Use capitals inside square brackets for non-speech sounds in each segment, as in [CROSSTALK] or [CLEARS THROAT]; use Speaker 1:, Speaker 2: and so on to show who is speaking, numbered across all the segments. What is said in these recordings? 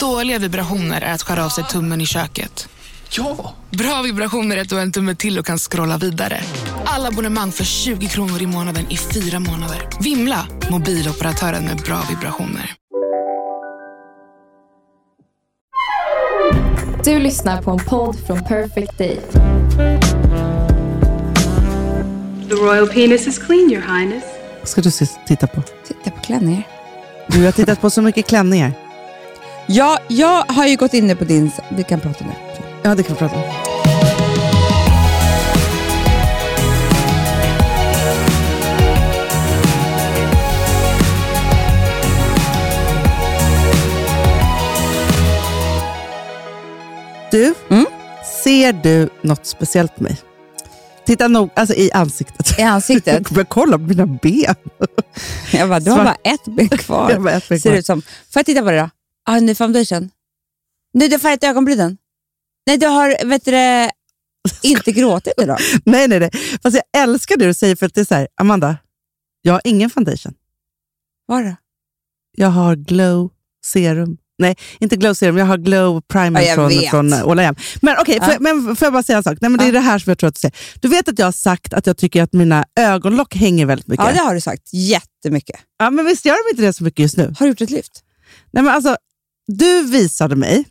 Speaker 1: Dåliga vibrationer är att skära av sig tummen i köket.
Speaker 2: Ja!
Speaker 1: Bra vibrationer är att du har en tumme till och kan scrolla vidare. Alla abonnemang för 20 kronor i månaden i fyra månader. Vimla! Mobiloperatören med bra vibrationer.
Speaker 3: Du lyssnar på en podd från Perfect Day.
Speaker 4: The royal penis is clean, your highness.
Speaker 5: ska du se- titta på?
Speaker 6: Titta på klänningar.
Speaker 5: Du har tittat på så mycket klänningar.
Speaker 6: Ja, jag har ju gått inne på din... Vi kan prata nu.
Speaker 5: Ja, det kan vi prata om. Du, ser du något speciellt på mig? Titta nog, alltså i ansiktet.
Speaker 6: I ansiktet? [LAUGHS]
Speaker 5: Jag kolla på mina ben.
Speaker 6: Jag bara, du har
Speaker 5: Svart.
Speaker 6: bara ett ben [LAUGHS] kvar.
Speaker 5: Jag bara, ett ben
Speaker 6: Ser
Speaker 5: kvar.
Speaker 6: ut som. Får jag titta på det då? Ah, Har du ny foundation? Nej, du har färgat ögonbrynen. Nej, du har vet du, det, inte gråtit idag.
Speaker 5: Nej, nej, nej. Fast jag älskar det du säger, för att det är så här, Amanda, jag har ingen foundation.
Speaker 6: Var då?
Speaker 5: Jag har glow serum. Nej, inte glow serum. Jag har glow primer
Speaker 6: Ja, jag
Speaker 5: från,
Speaker 6: vet.
Speaker 5: från eh, Ola Jem. Men okej,
Speaker 6: Ja.
Speaker 5: får jag- men får jag bara säga en sak? Nej, men Det är
Speaker 6: Ja.
Speaker 5: det här som jag tror att du säger. Du vet att jag har sagt att jag tycker att mina ögonlock hänger väldigt mycket?
Speaker 6: Ja, det har du sagt jättemycket.
Speaker 5: ja men visst gör de inte det så mycket just nu?
Speaker 6: Har du gjort ett lyft?
Speaker 5: Nej, men alltså, du visade mig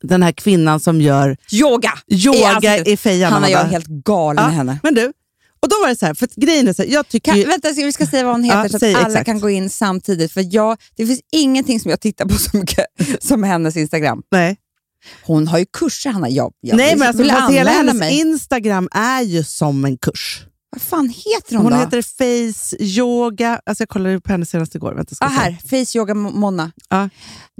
Speaker 5: den här kvinnan som gör
Speaker 6: Yoga!
Speaker 5: yoga
Speaker 6: ansiktet.
Speaker 5: i fejan.
Speaker 6: Hanna, alltså, jag är
Speaker 5: Amanda.
Speaker 6: helt galen
Speaker 5: ja,
Speaker 6: i henne.
Speaker 5: Men du, och då var det så här, för att grejen är så här, jag tycker
Speaker 6: Kan,
Speaker 5: ju...
Speaker 6: vänta, ska- vi ska säga vad hon heter
Speaker 5: Ja,
Speaker 6: så att
Speaker 5: säg
Speaker 6: alla
Speaker 5: exakt.
Speaker 6: kan gå in samtidigt. För jag, Det finns ingenting som jag tittar på så mycket [LAUGHS] som hennes Instagram.
Speaker 5: Nej.
Speaker 6: Hon har ju kurser, Hanna. Jag, jag
Speaker 5: Nej, men alltså,
Speaker 6: vill
Speaker 5: fast hela
Speaker 6: anmäla
Speaker 5: hennes
Speaker 6: mig.
Speaker 5: Instagram är ju som en kurs.
Speaker 6: Vad fan heter hon,
Speaker 5: Hon
Speaker 6: då?
Speaker 5: heter Face Yoga. Alltså jag kollade på henne senast igår. Vänta, ska
Speaker 6: Ja,
Speaker 5: jag se.
Speaker 6: Ah, här. Face Yoga Mo- Monna.
Speaker 5: Ja.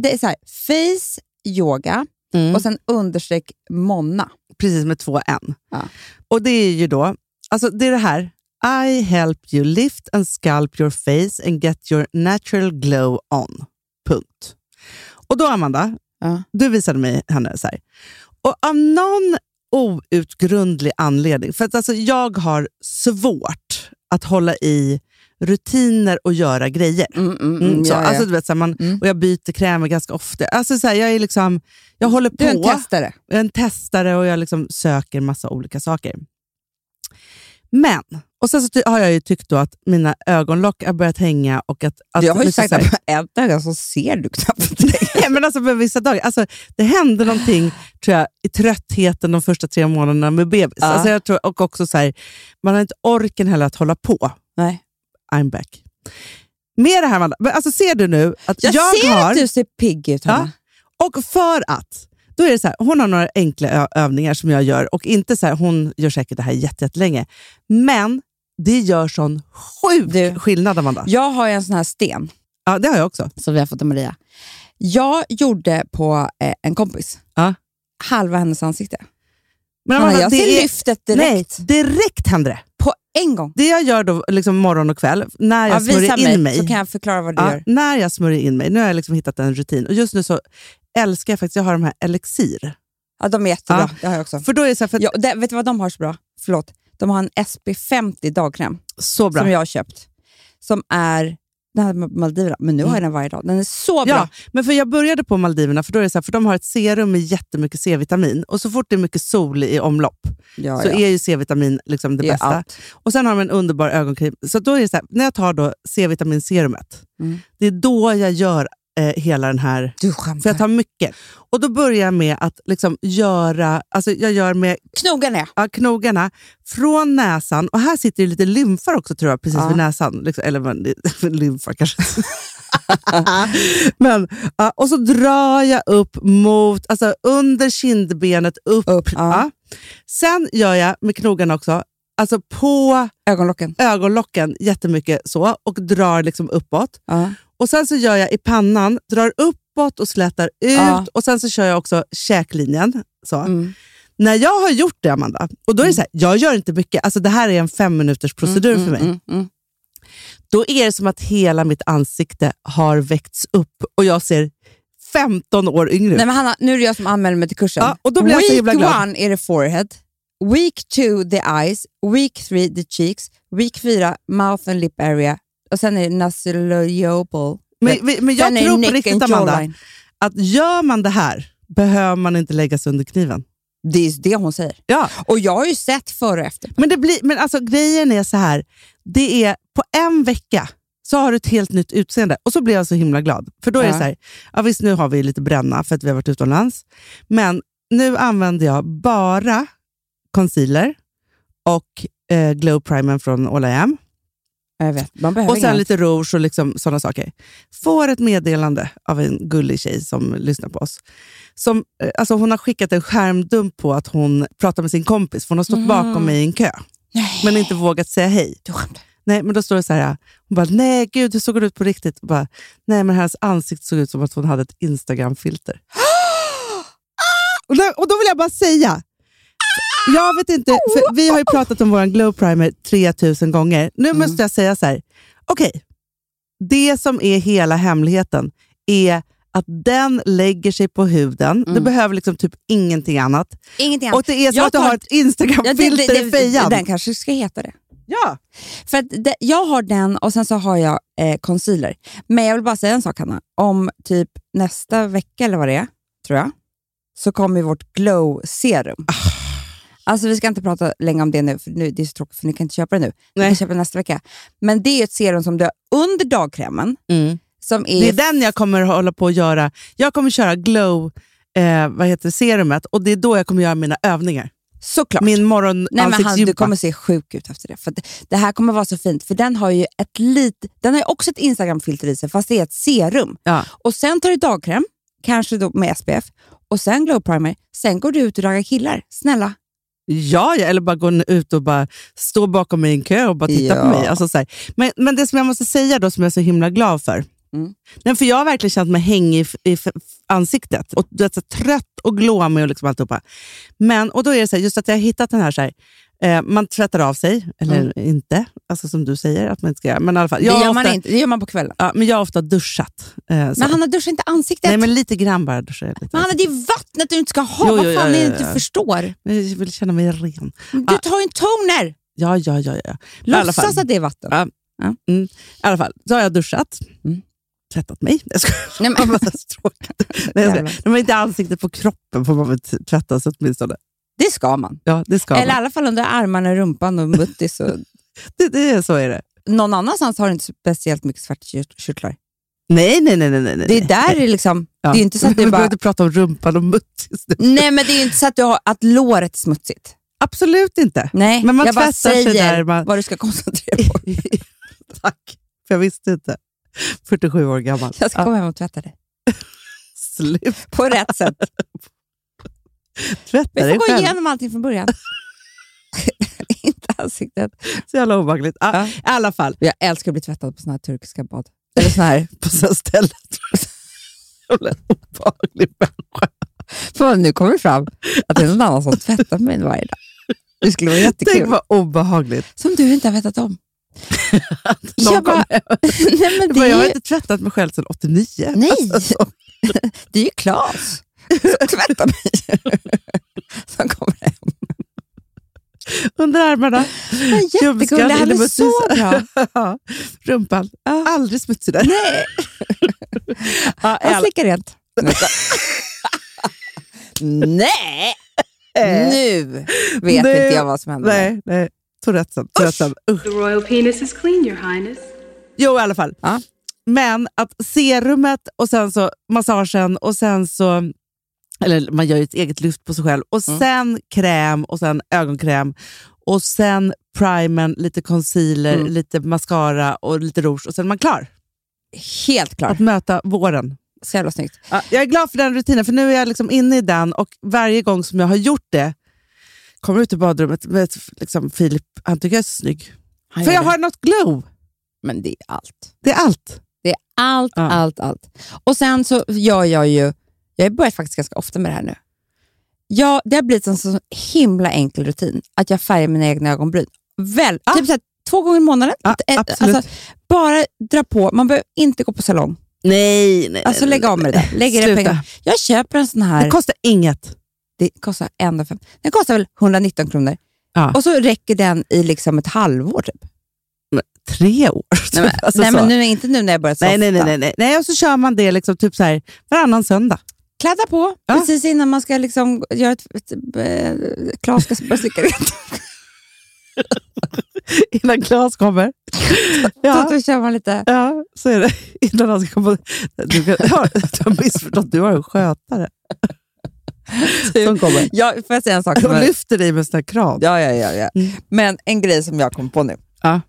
Speaker 6: Det är så här, Face Yoga
Speaker 5: Mm.
Speaker 6: och sen understreck Monna.
Speaker 5: Precis, med två N.
Speaker 6: Ja.
Speaker 5: Och det är ju då, alltså det är det här. I help you lift and sculpt your face and get your natural glow on. Punkt. Och då Amanda,
Speaker 6: Ja.
Speaker 5: du visade mig henne så här. Och av någon outgrundlig anledning, för att alltså jag har svårt att hålla i rutiner och göra grejer.
Speaker 6: Mm, mm,
Speaker 5: Mm, så.
Speaker 6: ja, ja.
Speaker 5: Alltså, du vet, så här, man,
Speaker 6: Mm.
Speaker 5: och jag byter krämer ganska ofta. Alltså, så här, jag är liksom, jag håller på,
Speaker 6: du är en testare.
Speaker 5: jag är en testare och jag liksom söker massa olika saker. Men, och sen så ty- har jag ju tyckt då att mina ögonlock har börjat hänga och att... att
Speaker 6: jag har ju
Speaker 5: liksom
Speaker 6: sagt
Speaker 5: så här-
Speaker 6: att
Speaker 5: [LAUGHS]
Speaker 6: på ett öga så ser du knappt.
Speaker 5: Nej, men alltså på vissa dagar. Alltså, det hände någonting tror jag, i tröttheten de första tre månaderna med bebis.
Speaker 6: Ja.
Speaker 5: Alltså, jag tror, och också så här, man har inte orken heller att hålla på.
Speaker 6: Nej.
Speaker 5: I'm back. Med det här, Amanda, men alltså ser du nu att jag,
Speaker 6: Jag, ser
Speaker 5: har...
Speaker 6: att du ser pigg ut,
Speaker 5: Ja.
Speaker 6: Hanna.
Speaker 5: Och för att, då är det så här, hon har några enkla ö- övningar som jag gör och inte så här, hon gör säkert det här jätte- jättelänge, men det gör sån sjuk
Speaker 6: Du.
Speaker 5: skillnad Amanda.
Speaker 6: Jag har ju en sån här sten
Speaker 5: Ja, det har jag också.
Speaker 6: som vi har fått av Maria. Jag gjorde på eh, en kompis
Speaker 5: Ja.
Speaker 6: halva hennes ansikte.
Speaker 5: Men alltså,
Speaker 6: Hanna, jag
Speaker 5: det
Speaker 6: ser
Speaker 5: är-
Speaker 6: lyftet direkt.
Speaker 5: Nej, direkt händer det.
Speaker 6: På en gång.
Speaker 5: Det jag gör då liksom morgon och kväll, när jag
Speaker 6: Ja, visa
Speaker 5: smörjer
Speaker 6: mig,
Speaker 5: in mig.
Speaker 6: så kan jag förklara vad du
Speaker 5: ja,
Speaker 6: gör.
Speaker 5: när jag smörjer in mig, nu har jag liksom hittat en rutin och just nu så älskar jag faktiskt, jag har de här elixir.
Speaker 6: Ja, de är jättebra.
Speaker 5: Ja.
Speaker 6: Det har jag också.
Speaker 5: För då är det så här, för
Speaker 6: Ja, och det, vet du vad de har så bra? Förlåt. De har en SP50 dagkräm
Speaker 5: så bra.
Speaker 6: som jag har köpt. Som är... Den här med Maldiverna, men nu har jag den varje dag. Den är så bra.
Speaker 5: Mm. Ja, men för jag började på Maldiverna, för då är det så här, för de har ett serum med jättemycket C-vitamin. Och så fort det är mycket sol i omlopp
Speaker 6: Ja,
Speaker 5: så
Speaker 6: ja.
Speaker 5: är ju C-vitamin liksom det
Speaker 6: Det är
Speaker 5: bästa.
Speaker 6: allt.
Speaker 5: Och sen har de en underbar ögonkrim. Så då är det så här, när jag tar då C-vitaminserumet,
Speaker 6: Mm.
Speaker 5: det är då jag gör eh, hela den här...
Speaker 6: Du
Speaker 5: För
Speaker 6: skämtar.
Speaker 5: jag tar mycket. Och då börjar jag med att liksom göra... Alltså jag gör med
Speaker 6: Knogarna ja.
Speaker 5: ja, knogarna från näsan. Och här sitter ju lite lymfar också tror jag, precis
Speaker 6: Ja.
Speaker 5: vid näsan. Liksom, eller men, [LAUGHS] lymfar kanske. men, ja, och så drar jag upp mot, alltså under kindbenet upp.
Speaker 6: Upp, ja.
Speaker 5: ja. Sen gör jag med knogarna också, alltså på
Speaker 6: Ögonlocken.
Speaker 5: ögonlocken jättemycket så och drar liksom uppåt.
Speaker 6: Ja.
Speaker 5: Och Sen så gör jag i pannan, drar uppåt och slätar ut
Speaker 6: Ja.
Speaker 5: och sen så kör jag också käklinjen. Så.
Speaker 6: Mm.
Speaker 5: När jag har gjort det, Amanda, och då är det så här, jag gör inte mycket. Alltså Det här är en fem minuters procedur för mig.
Speaker 6: Mm, mm.
Speaker 5: Då är det som att hela mitt ansikte har väckts upp och jag ser 15 år yngre ut.
Speaker 6: Nej, men Hanna, nu är det jag som anmäler mig till kursen.
Speaker 5: Ja, och då blir jag
Speaker 6: week
Speaker 5: så himla glad.
Speaker 6: one är det forehead, week two the eyes, week three the cheeks, week fyra mouth and lip area och sen är det nasolabial.
Speaker 5: Men, men- men jag
Speaker 6: Sen är det
Speaker 5: tror på
Speaker 6: neck
Speaker 5: riktigt,
Speaker 6: and
Speaker 5: Amanda,
Speaker 6: jawline.
Speaker 5: att gör man det här behöver man inte lägga sig under kniven.
Speaker 6: Det är det hon säger.
Speaker 5: Ja.
Speaker 6: Och jag har ju sett före och efter.
Speaker 5: Men, det blir, men alltså, grejen är så här, det är på en vecka så har du ett helt nytt utseende. Och så blir jag så himla glad. För då är det
Speaker 6: Ja.
Speaker 5: så här, ja, visst nu har vi lite bränna för att vi har varit utomlands. Men nu använder jag bara concealer och eh, glow primern från All I Am.
Speaker 6: Jag vet, man behöver
Speaker 5: Och sen
Speaker 6: inget.
Speaker 5: lite rouge och liksom sådana saker. Får ett meddelande av en gullig tjej som lyssnar på oss. Som, eh, alltså hon har skickat en skärmdump på att hon pratar med sin kompis, för hon har stått bakom mig i en kö. Men inte vågat säga hej.
Speaker 6: Mhm. Du skämtar.
Speaker 5: Nej, men då står det så här, hon bara, nej gud, hur såg hon ut på riktigt? Och bara, nej, men hennes ansikte såg ut som att hon hade ett
Speaker 6: [GASPS]
Speaker 5: Instagram-filter. och, då, och då vill jag bara säga, jag vet inte, för vi har ju pratat om vår glow primer 3000 gånger. Nu
Speaker 6: Mm.
Speaker 5: måste jag säga så här, okej, det som är hela hemligheten är att den lägger sig på huden. Du behöver liksom typ ingenting annat.
Speaker 6: Ingenting
Speaker 5: Och det är som
Speaker 6: Mm. Jag
Speaker 5: att du
Speaker 6: tar-
Speaker 5: har ett
Speaker 6: [LAUGHS] Ja, det-
Speaker 5: Instagram-filter
Speaker 6: det-
Speaker 5: i
Speaker 6: det-
Speaker 5: fejan.
Speaker 6: Den kanske ska heta det.
Speaker 5: Ja.
Speaker 6: För att det, jag har den och sen så har jag eh, concealer. Men jag vill bara säga en sak Hanna. Om typ nästa vecka eller vad det är, tror jag, så kommer ju vårt glow serum.
Speaker 5: Ah.
Speaker 6: Alltså vi ska inte prata länge om det nu, för nu, det är så tråkigt för ni kan inte köpa det nu. Ni kan
Speaker 5: Nej.
Speaker 6: köpa det nästa vecka. Men det är ett serum som du har under dagkrämen. Som är,
Speaker 5: Mm. Det är den jag kommer hålla på att göra. Jag kommer köra glow, eh, vad heter det, serumet och det är då jag kommer göra mina övningar.
Speaker 6: såklart.
Speaker 5: Min
Speaker 6: Nej, men han, du
Speaker 5: morgonansiktsgympa.
Speaker 6: kommer se sjuk ut efter det. För att det här kommer vara så fint, för den har ju ett lit, den har ju också ett Instagram-filter i sig, fast det är ett serum.
Speaker 5: Ja.
Speaker 6: Och sen tar du dagkräm, kanske då med SPF, och sen glow primer. Sen går du ut och raggar killar. Snälla.
Speaker 5: Ja, ja, eller bara gå ut och bara stå bakom mig i en kö och bara titta
Speaker 6: Ja.
Speaker 5: på mig. Alltså, så här. Men, men det som jag måste säga då, som jag är så himla glad för.
Speaker 6: Mm.
Speaker 5: Nej, för Jag har verkligen känt mig hängig i, f- i f- ansiktet. Och, du vet, så här, trött och glåmig och liksom alltihopa. Men, och då är det så här, just att jag har hittat den här, så här eh, man tvättar av sig, eller inte. Alltså som du säger att man inte ska göra. Men i alla fall, jag
Speaker 6: Mm. det,
Speaker 5: har
Speaker 6: gör man
Speaker 5: ofta-
Speaker 6: inte, det gör man på kvällen.
Speaker 5: Ja, men jag har ofta duschat. Eh, så.
Speaker 6: Men Hanna, duscha inte ansiktet.
Speaker 5: Nej,
Speaker 6: men...
Speaker 5: men lite grann bara duschar jag. Lite.
Speaker 6: Hanna, det är vattnet du inte ska ha.
Speaker 5: Jo,
Speaker 6: Vad
Speaker 5: jo, ja,
Speaker 6: fan är det
Speaker 5: ja,
Speaker 6: inte
Speaker 5: ja.
Speaker 6: du förstår?
Speaker 5: Men Jag vill känna mig ren.
Speaker 6: Du tar ju en toner.
Speaker 5: Ja, ja, ja. ja. Men i alla fall,
Speaker 6: Låtsas att det är vatten.
Speaker 5: Ja. mm, I alla fall, så har jag duschat.
Speaker 6: Mm. Tvättat
Speaker 5: Nej, jag skojar.
Speaker 6: [LAUGHS] Nej,
Speaker 5: Vad [LAUGHS]
Speaker 6: men,
Speaker 5: tråkigt. Nej, jag skojar. Nej, men inte ansiktet på kroppen får man väl t- tvätta sig åtminstone.
Speaker 6: det ska man.
Speaker 5: Ja, det ska
Speaker 6: Eller i
Speaker 5: man.
Speaker 6: alla fall under armarna, rumpan och
Speaker 5: [LAUGHS]
Speaker 6: muttis och
Speaker 5: Det, det, är- så är det.
Speaker 6: någon annanstans har du inte speciellt mycket svartkörtlar.
Speaker 5: Nej, nej, nej. nej, nej, nej.
Speaker 6: Det är där det är liksom...
Speaker 5: Ja.
Speaker 6: Det är ju inte så
Speaker 5: [LAUGHS]
Speaker 6: att
Speaker 5: Vi
Speaker 6: du
Speaker 5: behöver
Speaker 6: bara...
Speaker 5: inte prata om rumpan och muttis nu.
Speaker 6: Nej, men det är ju inte så att, du har, att låret är smutsigt.
Speaker 5: Absolut
Speaker 6: [LAUGHS]
Speaker 5: inte.
Speaker 6: Nej,
Speaker 5: Men man
Speaker 6: jag bara
Speaker 5: tvättar sig
Speaker 6: säger
Speaker 5: där man-
Speaker 6: vad du ska koncentrera dig på.
Speaker 5: Tack, för jag visste inte. 47 år gammal.
Speaker 6: Jag ska komma hem och tvätta dig.
Speaker 5: Absolut. [LAUGHS]
Speaker 6: På rätt sätt. Vi
Speaker 5: Tvätta
Speaker 6: får
Speaker 5: dig
Speaker 6: gå
Speaker 5: själv.
Speaker 6: igenom allting
Speaker 5: [LAUGHS]
Speaker 6: från början. inte ansiktet.
Speaker 5: Så jävla obehagligt. Ah,
Speaker 6: Ja.
Speaker 5: I alla fall,
Speaker 6: Jag älskar att bli tvättad på såna här turkiska bad. Eller såna
Speaker 5: [LAUGHS]
Speaker 6: här...
Speaker 5: på sådana ställen. Jävla obehaglig människa.
Speaker 6: Fan, nu kommer det fram att det är någon annan som tvättar mig varje dag. Det skulle vara
Speaker 5: [LAUGHS] Tänk
Speaker 6: jättekul.
Speaker 5: vad obehagligt.
Speaker 6: Som du inte har vetat om.
Speaker 5: [LAUGHS] Någon
Speaker 6: jag bara...
Speaker 5: kom hem.
Speaker 6: Nej, men
Speaker 5: Jag
Speaker 6: det
Speaker 5: bara, jag har
Speaker 6: är ju...
Speaker 5: inte tvättat mig själv sedan 89.
Speaker 6: Nej.
Speaker 5: [LAUGHS] Alltså, så.
Speaker 6: Det är ju Claes som tvättar mig. [LAUGHS] Som kommer hem.
Speaker 5: Under armarna. [LAUGHS]
Speaker 6: Han är
Speaker 5: Ljumsken,
Speaker 6: jättegullig. Han är
Speaker 5: inomhus.
Speaker 6: så bra.
Speaker 5: Ja, Rumpan. Aldrig smutsig där.
Speaker 6: Nej,
Speaker 5: [LAUGHS] Ja, i alla-
Speaker 6: han slickar rent. Nej! Nu vet
Speaker 5: Nu-
Speaker 6: inte jag vad som hände.
Speaker 5: nej, nej. Tourettesen. Tourettesen. Usch.
Speaker 4: The royal penis is clean, Your Highness.
Speaker 5: Jo, i alla fall.
Speaker 6: Ja.
Speaker 5: Men att serumet och sen så massagen och sen så... Eller man gör ju ett eget lyft på sig själv. Och
Speaker 6: Mm.
Speaker 5: sen kräm och sen ögonkräm. Och sen primern, lite concealer,
Speaker 6: Mm.
Speaker 5: lite mascara och lite rouge. Och sen är man klar
Speaker 6: Helt klart.
Speaker 5: att möta våren.
Speaker 6: Så jävla snyggt.
Speaker 5: Ja, jag är glad för den rutinen, för nu är jag liksom inne i den och varje gång som jag har gjort det, kommer ut i badrummet med ett- liksom, Filip, han tycker jag är snygg.
Speaker 6: Han
Speaker 5: för
Speaker 6: gör
Speaker 5: jag
Speaker 6: det.
Speaker 5: har något glow.
Speaker 6: Men det är allt.
Speaker 5: Det är allt.
Speaker 6: Det är Allt,
Speaker 5: Ja.
Speaker 6: allt, allt. Och sen så gör jag ju, jag har börjat faktiskt ganska ofta med det här nu. Jag, det har blivit en så himla enkel rutin att jag färgar mina egna ögonbryn. Väl, Typ så här, två gånger i månaden.
Speaker 5: Ja,
Speaker 6: Ett-
Speaker 5: absolut.
Speaker 6: Alltså, bara dra på, man behöver inte gå på salong.
Speaker 5: Nej, nej.
Speaker 6: Alltså lägg av med det där. Lägg era
Speaker 5: Sluta.
Speaker 6: pengar. Jag köper en sån här,
Speaker 5: Det kostar inget.
Speaker 6: det kostar 1,5. Den kostar väl 119 kronor.
Speaker 5: Ja.
Speaker 6: Och så räcker den i liksom ett halvår typ.
Speaker 5: Tre [LAUGHS] år.
Speaker 6: Nej, men, [LAUGHS]
Speaker 5: Alltså,
Speaker 6: nej,
Speaker 5: så.
Speaker 6: men nu, inte nu när jag börjat softa.
Speaker 5: nej, nej, nej, nej, nej. nej. Och så kör man det liksom, typ så här, varannan söndag. [LAUGHS]
Speaker 6: Klädda på
Speaker 5: Ja.
Speaker 6: precis innan man ska liksom göra ett... ett, eh, Klas ska börja slicka rent.
Speaker 5: Innan Claes
Speaker 6: [LAUGHS]
Speaker 5: kommer.
Speaker 6: Så
Speaker 5: Ja,
Speaker 6: [LAUGHS] Då kör man lite...
Speaker 5: ja, så är det. [LAUGHS] Innan han ska komma. Du, kan, [LAUGHS] ja, du har missförstått, du har en skötare
Speaker 6: Typ.
Speaker 5: som kommer.
Speaker 6: [LAUGHS] Ja, får jag säga en sak? som
Speaker 5: De
Speaker 6: är-
Speaker 5: lyfter dig med sina krav.
Speaker 6: Ja, ja, ja, ja.
Speaker 5: Mm.
Speaker 6: Men en grej som jag kom på nu.
Speaker 5: Ja.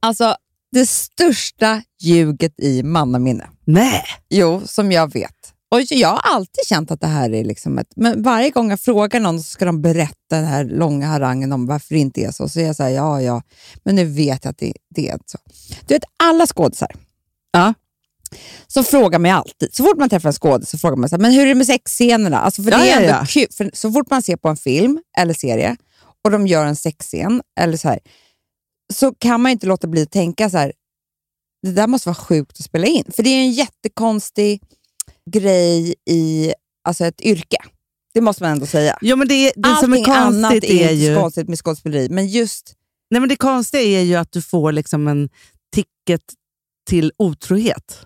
Speaker 6: Alltså, det största ljuget i mannaminne.
Speaker 5: Nej,
Speaker 6: Jo, som jag vet. Och jag har alltid känt att det här är liksom ett... Men varje gång jag frågar någon så ska de berätta den här långa harangen om varför det inte är så. Så är jag säger ja, ja. Men nu vet jag att det, det är inte så. Du vet, alla skådisar.
Speaker 5: Ja.
Speaker 6: Så frågar man ju alltid. Så fort man träffar en skådis så frågar man så här, men hur är det med sexscenerna? Alltså för
Speaker 5: Ja,
Speaker 6: det
Speaker 5: ja,
Speaker 6: är ändå
Speaker 5: ja.
Speaker 6: kul. För så fort man ser på en film eller serie och de gör en sexscen eller så här, så kan man ju inte låta bli att tänka så här, det där måste vara sjukt att spela in. För det är ju en jättekonstig grej i alltså ett yrke. Det måste man ändå säga.
Speaker 5: jo, men det, det som är
Speaker 6: Allting annat
Speaker 5: konstigt är,
Speaker 6: är inte
Speaker 5: ju...
Speaker 6: så konstigt med skådespeleri, men just
Speaker 5: Nej, men det konstiga är ju att du får liksom en ticket till otrohet.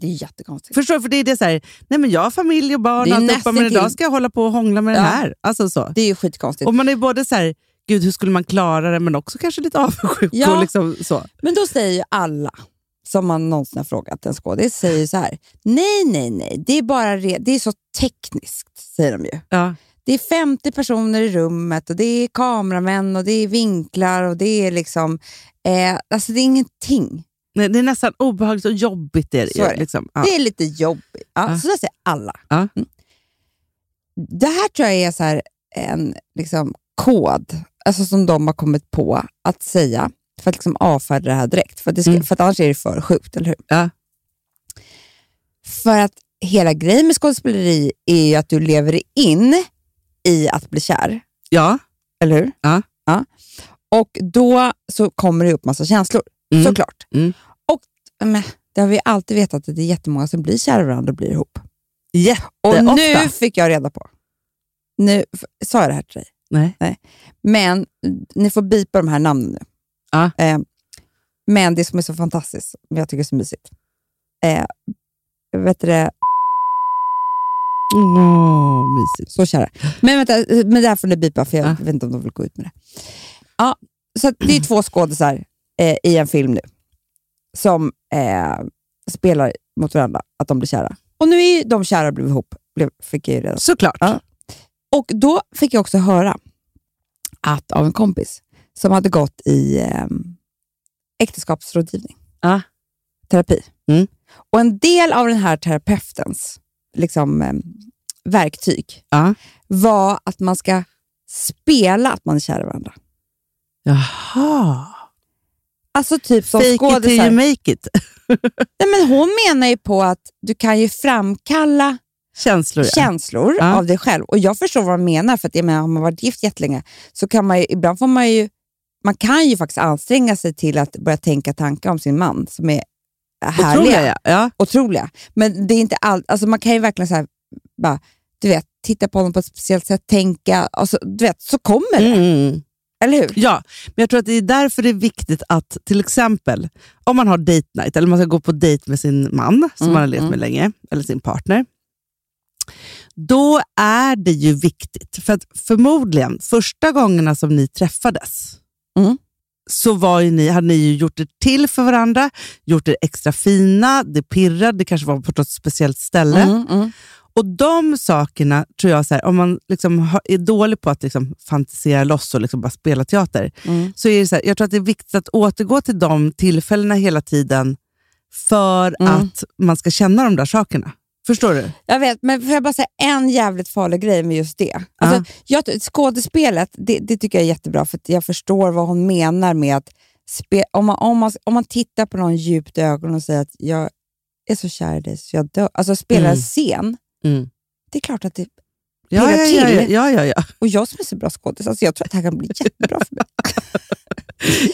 Speaker 6: det är jättekonstigt.
Speaker 5: Förstår du? För det är det så här, nej men jag har familj och barn
Speaker 6: Det är
Speaker 5: och alltihopa, men
Speaker 6: nästintill-
Speaker 5: idag ska jag hålla på och hångla med
Speaker 6: Ja.
Speaker 5: den här. Alltså så.
Speaker 6: det är ju skitkonstigt.
Speaker 5: Och man är både så här, gud hur skulle man klara det, men också kanske lite avundsjuk.
Speaker 6: Ja.
Speaker 5: Och liksom så.
Speaker 6: Men då säger ju alla som man någonsin har frågat en skådis, säger ju så här, nej, nej, nej, det är bara re- det är så tekniskt, säger de ju.
Speaker 5: Ja.
Speaker 6: Det är 50 personer i rummet och det är kameramän och det är vinklar och det är liksom, eh, alltså det är ingenting.
Speaker 5: Nej, det är nästan obehagligt och jobbigt. Är det,
Speaker 6: Så är
Speaker 5: ju,
Speaker 6: det.
Speaker 5: Liksom. Ja.
Speaker 6: Det är lite jobbigt. Ja,
Speaker 5: Ja.
Speaker 6: Så där säger alla.
Speaker 5: Ja.
Speaker 6: Mm. Det här tror jag är så här en liksom, kod alltså som de har kommit på att säga för att liksom avfärda det här direkt. För, att det ska,
Speaker 5: Mm.
Speaker 6: för att annars är det för sjukt, eller hur?
Speaker 5: Ja.
Speaker 6: För att hela grejen med skådespeleri är ju att du lever in i att bli kär,
Speaker 5: ja.
Speaker 6: eller hur?
Speaker 5: Ja.
Speaker 6: ja. Och då så kommer det upp massa känslor,
Speaker 5: Mm.
Speaker 6: såklart.
Speaker 5: Mm.
Speaker 6: Och men, det har vi alltid vetat att det är jättemånga som blir kära i varandra och blir ihop. Och
Speaker 5: Jätteofta.
Speaker 6: nu fick jag reda på. Nu f- sa jag det här till dig.
Speaker 5: Nej.
Speaker 6: Men ni får bipa de här namnen nu.
Speaker 5: Ja.
Speaker 6: Eh, men det som är så fantastiskt, som jag tycker är så mysigt. Eh, vet du det, Mm.
Speaker 5: Åh, mysigt.
Speaker 6: så kära. Men vänta, eh, men det här får ni bipa för jag
Speaker 5: Ja.
Speaker 6: vet inte om de vill gå ut med det. Ja, så att det är två skådisar eh, i en film nu som eh, spelar mot varandra, att de blir kära. Och nu är ju de kära och blev ihop, blev, fick jag ju reda på.
Speaker 5: Såklart.
Speaker 6: Ja. Och då fick jag också höra att av en kompis som hade gått i eh, äktenskapsrådgivning,
Speaker 5: Ja.
Speaker 6: terapi.
Speaker 5: Mm.
Speaker 6: Och en del av den här terapeutens liksom, eh, verktyg
Speaker 5: Ja.
Speaker 6: var att man ska spela att man är kär i varandra.
Speaker 5: Jaha.
Speaker 6: Alltså typ som
Speaker 5: Fake it till
Speaker 6: skådisar.
Speaker 5: you make it.
Speaker 6: Nej, men hon menar ju på att du kan ju framkalla
Speaker 5: Känslor, ja.
Speaker 6: känslor
Speaker 5: Ja.
Speaker 6: av dig själv. Och jag förstår vad de menar, för att jag menar, har man varit gift jättelänge så kan man ju, ibland får man ju, man kan ju faktiskt anstränga sig till att börja tänka tankar om sin man som är härliga,
Speaker 5: Otroliga,
Speaker 6: otroliga.
Speaker 5: ja. ja.
Speaker 6: Men det är inte allt, alltså man kan ju verkligen så här, bara, du vet, titta på honom på ett speciellt sätt, tänka, alltså, du vet, så kommer det,
Speaker 5: Mm.
Speaker 6: eller hur?
Speaker 5: Ja, men jag tror att det är därför det är viktigt att till exempel om man har date night eller man ska gå på dejt med sin man som
Speaker 6: Mm,
Speaker 5: man har levt med länge, eller sin partner. Då är det ju viktigt, för att förmodligen första gångerna som ni träffades
Speaker 6: Mm.
Speaker 5: så var ju ni, hade ni ju gjort det till för varandra, gjort er extra fina, det pirrade, det kanske var på något speciellt ställe.
Speaker 6: Mm, mm.
Speaker 5: Och de sakerna tror jag, så här, om man liksom har, är dålig på att liksom fantisera loss och liksom bara spela teater,
Speaker 6: Mm.
Speaker 5: så är det så här, jag tror att det är viktigt att återgå till de tillfällena hela tiden för
Speaker 6: Mm.
Speaker 5: att man ska känna de där sakerna. Förstår du?
Speaker 6: Jag vet, men får jag bara säga en jävligt farlig grej med just det? Alltså, jag, skådespelet, det, det tycker jag är jättebra, för att jag förstår vad hon menar med att spe, om, man, om, man, om man tittar på någon djupt i ögonen och säger att jag är så kär i dig så jag dör. Alltså spelar
Speaker 5: Mm.
Speaker 6: en scen,
Speaker 5: Mm.
Speaker 6: det är klart att det...
Speaker 5: Ja, ja,
Speaker 6: Pirrar
Speaker 5: ja, ja,
Speaker 6: till.
Speaker 5: ja, ja, ja. [LAUGHS]
Speaker 6: Och jag som är så bra skådis, alltså jag tror att det här kan bli [LAUGHS] jättebra för mig.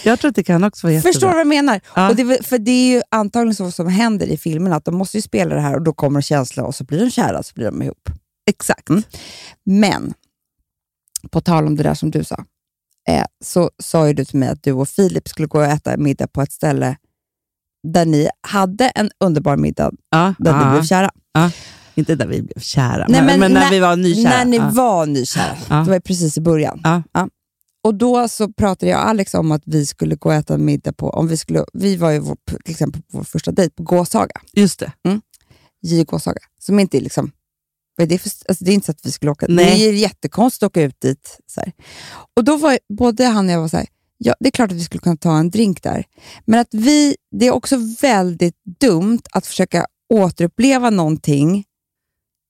Speaker 5: Jag tror att det kan också vara jättebra.
Speaker 6: Förstår du vad jag menar?
Speaker 5: Ja.
Speaker 6: Och det, är väl- för det är ju antagligen så som händer i filmen, att de måste ju spela det här och då kommer känslan och så blir de kära och så blir de ihop. Exakt. Mm. Men, på tal om det där som du sa, eh, så sa ju du till mig att du och Filip skulle gå och äta middag på ett ställe där ni hade en underbar middag
Speaker 5: Ja,
Speaker 6: där ni
Speaker 5: ja.
Speaker 6: blev kära.
Speaker 5: Inte där vi blev kära,
Speaker 6: Nej,
Speaker 5: men,
Speaker 6: men
Speaker 5: men, när,
Speaker 6: när-
Speaker 5: vi var nykära.
Speaker 6: När ni
Speaker 5: ja.
Speaker 6: var nykära.
Speaker 5: Ja.
Speaker 6: Det var ju precis i början.
Speaker 5: Ja.
Speaker 6: Och då så pratade jag och Alex om att vi skulle gå och äta en middag på, om vi, skulle, vi var ju vår, till exempel på vår första dejt på Gåshaga,
Speaker 5: Just det.
Speaker 6: J Gåshaga, som inte är liksom, vad är det, för, alltså det är inte så att vi skulle åka,
Speaker 5: Nej.
Speaker 6: det är jättekonstigt att åka ut dit. Så här. Och då var ju- både han och jag var så här, ja det är klart att vi skulle kunna ta en drink där, men att vi, det är också väldigt dumt att försöka återuppleva någonting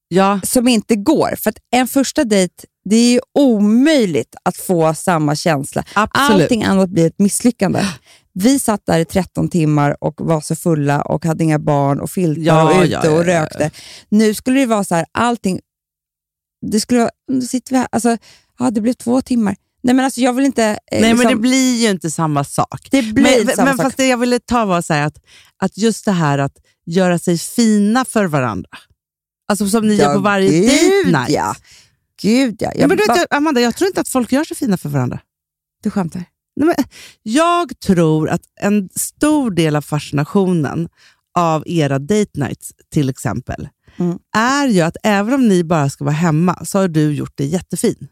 Speaker 5: Ja,
Speaker 6: som inte går. För att en första dejt, det är ju omöjligt att få samma känsla.
Speaker 5: absolut.
Speaker 6: Allting annat blir ett misslyckande. Vi satt där i 13 timmar och var så fulla och hade inga barn och filtar
Speaker 5: Ja,
Speaker 6: och ute
Speaker 5: ja, ja,
Speaker 6: och
Speaker 5: ja, ja.
Speaker 6: rökte. Nu skulle det vara så här, allting... Det skulle vara, nu sitter vi här, alltså, ja, det blev två timmar. Nej men alltså jag vill inte... eh,
Speaker 5: Nej, men
Speaker 6: liksom,
Speaker 5: det blir ju inte samma sak.
Speaker 6: det blir
Speaker 5: men,
Speaker 6: samma
Speaker 5: men
Speaker 6: sak.
Speaker 5: fast det jag ville ta var så här att, att just det här att göra sig fina för varandra. Alltså som ni gör på varje
Speaker 6: gud,
Speaker 5: date night.
Speaker 6: Ja. Gud ja.
Speaker 5: Ja, men du vet,
Speaker 6: bara-
Speaker 5: jag- Amanda, jag tror inte att folk gör sig fina för varandra.
Speaker 6: du skämtar?
Speaker 5: Nej, men jag tror att en stor del av fascinationen av era date nights till exempel,
Speaker 6: Mm.
Speaker 5: är ju att även om ni bara ska vara hemma så har du gjort det jättefin.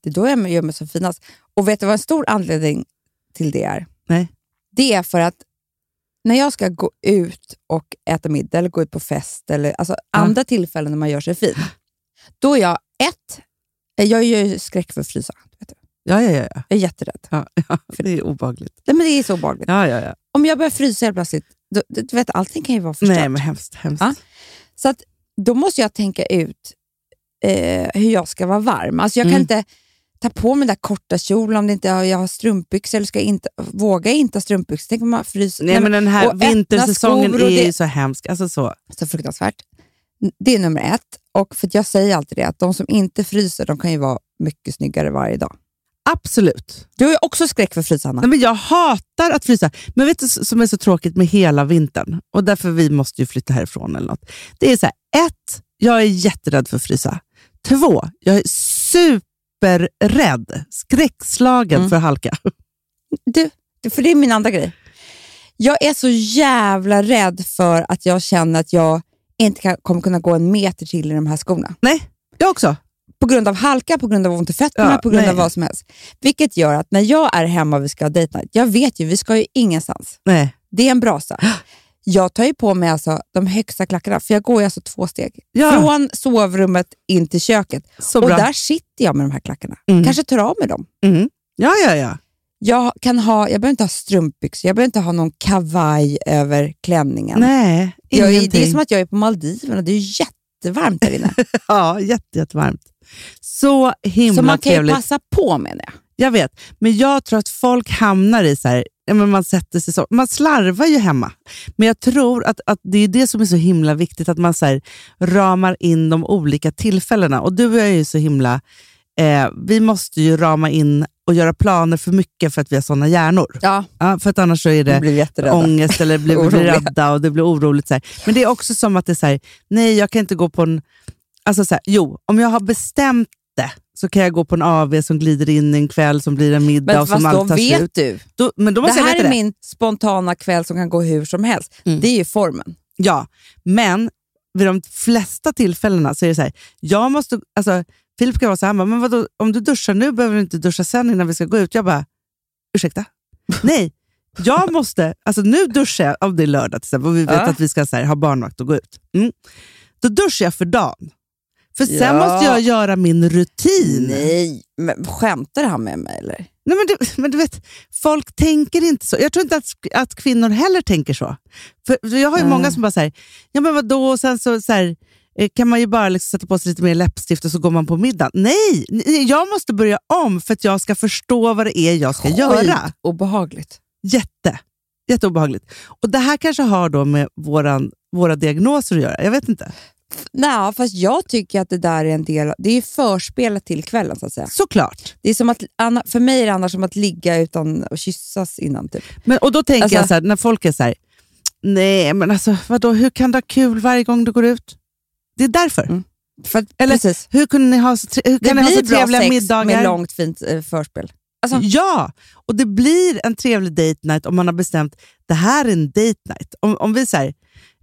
Speaker 6: Det är då jag gör mig som finast. Och vet du vad en stor anledning till det är?
Speaker 5: Nej.
Speaker 6: Det är för att när jag ska gå ut och äta middag eller gå ut på fest eller alltså andra tillfällen när man gör sig fin, då är jag ett, eh, jag gör ju skräck för att frysa. Vet du.
Speaker 5: Ja, ja, ja. ja.
Speaker 6: Jag är jätterädd.
Speaker 5: ja, ja. Det är obehagligt.
Speaker 6: Nej, men det är så obehagligt.
Speaker 5: Ja, ja, ja.
Speaker 6: Om jag börjar frysa helt plötsligt, då, du du vet, allting kan ju vara förstört.
Speaker 5: Nej, men hemskt. hemskt.
Speaker 6: Ja. Så att, då måste jag tänka ut eh, hur jag ska vara varm. Alltså jag kan
Speaker 5: Mm.
Speaker 6: inte ta på mig den där korta kjolen om det inte, jag har strumpbyxor eller ska jag inte, våga inte ha strumpbyxor. Tänk om man
Speaker 5: Alltså,
Speaker 6: fryser.
Speaker 5: Nej, men den
Speaker 6: och
Speaker 5: här
Speaker 6: öppna
Speaker 5: vintersäsongen
Speaker 6: skor
Speaker 5: är
Speaker 6: och det-
Speaker 5: ju så hemsk. Alltså så.
Speaker 6: Så fruktansvärt. Det är nummer ett. Och för att jag säger alltid det, att de som inte fryser, de kan ju vara mycket snyggare varje dag.
Speaker 5: Absolut.
Speaker 6: Du har ju också skräck för att frysa, Hanna.
Speaker 5: Nej, men jag hatar att frysa. Men vet du s- som är så tråkigt med hela vintern och därför vi måste ju flytta härifrån eller något. Det är så här, ett, jag är jätterädd för att frysa. Två, jag är superrädd, skräckslagen
Speaker 6: Mm.
Speaker 5: för halka.
Speaker 6: Du, det- för det är min andra grej. Jag är så jävla rädd för att jag känner att jag inte kan, kommer kunna gå en meter till i de här skorna.
Speaker 5: Nej, jag också.
Speaker 6: på grund av halka, på grund av ont i fötterna,
Speaker 5: Ja,
Speaker 6: på grund av
Speaker 5: nej.
Speaker 6: vad som helst. Vilket gör att när jag är hemma och vi ska ha date night, jag vet ju, vi ska ju ingenstans.
Speaker 5: Nej.
Speaker 6: Det är en brasa. Jag tar ju på mig alltså de högsta klackarna, för jag går ju alltså två steg.
Speaker 5: Ja.
Speaker 6: Från sovrummet in till köket.
Speaker 5: Så
Speaker 6: och
Speaker 5: bra.
Speaker 6: där sitter jag med de här klackarna.
Speaker 5: Mm.
Speaker 6: Kanske tar av mig dem.
Speaker 5: Mm. Ja, ja, ja.
Speaker 6: Jag, kan ha, jag behöver inte ha strumpbyxor, jag behöver inte ha någon kavaj över klänningen.
Speaker 5: Nej,
Speaker 6: jag är,
Speaker 5: ingenting.
Speaker 6: det är som att jag är på Maldiverna, det är ju jättevarmt där inne.
Speaker 5: Ja, jätte, jättevarmt. Så [LAUGHS] himla
Speaker 6: Så man kan ju
Speaker 5: trevligt.
Speaker 6: passa på menar jag.
Speaker 5: Jag vet, men jag tror att folk hamnar i så här, ja, men man sätter sig så. Man slarvar ju hemma. Men jag tror att, att det är det som är så himla viktigt, att man så här, ramar in de olika tillfällena. Och du och jag är ju så himla... Eh, vi måste ju rama in och göra planer för mycket för att vi har såna hjärnor.
Speaker 6: Ja,
Speaker 5: Ja, för att annars så är det
Speaker 6: jag blir jätterädd.
Speaker 5: ångest eller
Speaker 6: [LAUGHS]
Speaker 5: blir, blir
Speaker 6: Oroliga.
Speaker 5: rädda och det blir oroligt. Så här. Men det är också som att det är så här, nej jag kan inte gå på en... Alltså så här, jo, om jag har bestämt det så kan jag gå på en AV som glider in en kväll som blir en middag
Speaker 6: Men
Speaker 5: och som
Speaker 6: fast då
Speaker 5: allt tar
Speaker 6: vet
Speaker 5: slut.
Speaker 6: du.
Speaker 5: Då, men då
Speaker 6: Det
Speaker 5: måste jag
Speaker 6: här är
Speaker 5: veta det.
Speaker 6: min spontana kväll som kan gå hur som helst.
Speaker 5: Mm.
Speaker 6: Det är ju formen.
Speaker 5: Ja, men vid de flesta tillfällena så är det så här, jag måste... Alltså, Filip kan vara så här, han bara, men vadå, om du duschar nu behöver du inte duscha sen innan vi ska gå ut. Jag bara,
Speaker 6: [LAUGHS]
Speaker 5: ursäkta? Nej, jag måste, alltså nu duschar jag, om det är lördag till exempel, och vi vet
Speaker 6: Ja.
Speaker 5: att vi ska så här, ha barnvakt och gå ut. Mm. Då duschar jag för dagen. För sen
Speaker 6: Ja.
Speaker 5: måste jag göra min rutin.
Speaker 6: Nej, men skämtar han med mig eller?
Speaker 5: Nej, men, du, [LAUGHS] men du vet, folk tänker inte så. Jag tror inte att, att kvinnor heller tänker så. För, för jag har ju
Speaker 6: Nej.
Speaker 5: många som bara säger, ja men vadå, och sen så, så här, eh, kan man ju bara liksom sätta på sig lite mer läppstift och så går man på middag. Nej, nej, jag måste börja om för att jag ska förstå vad det är jag ska göra.
Speaker 6: Obehagligt.
Speaker 5: Jätte, jätteobehagligt. Och det här kanske har då med våran, våra diagnoser att göra. Jag vet inte.
Speaker 6: Nej, fast jag tycker att det där är en del av- Det är ju förspelet till kvällen så att säga.
Speaker 5: Såklart.
Speaker 6: Det är som att, Anna- för mig är det annars som att ligga utan att kyssas innan. Typ.
Speaker 5: Men, och då tänker
Speaker 6: Alltså-
Speaker 5: jag så här, när folk är så här, nej men alltså vadå, hur kan du ha kul varje gång du går ut? Det är därför.
Speaker 6: Mm. För att,
Speaker 5: Eller-
Speaker 6: precis.
Speaker 5: Hur kunde ni ha så, tre- hur
Speaker 6: Det
Speaker 5: kan ni ha
Speaker 6: blir
Speaker 5: så
Speaker 6: bra
Speaker 5: trevliga
Speaker 6: sex
Speaker 5: middagar?
Speaker 6: med långt fint eh, förspel. Alltså-
Speaker 5: Ja, och det blir en trevlig date night om man har bestämt det här är en date night. Om, om vi säger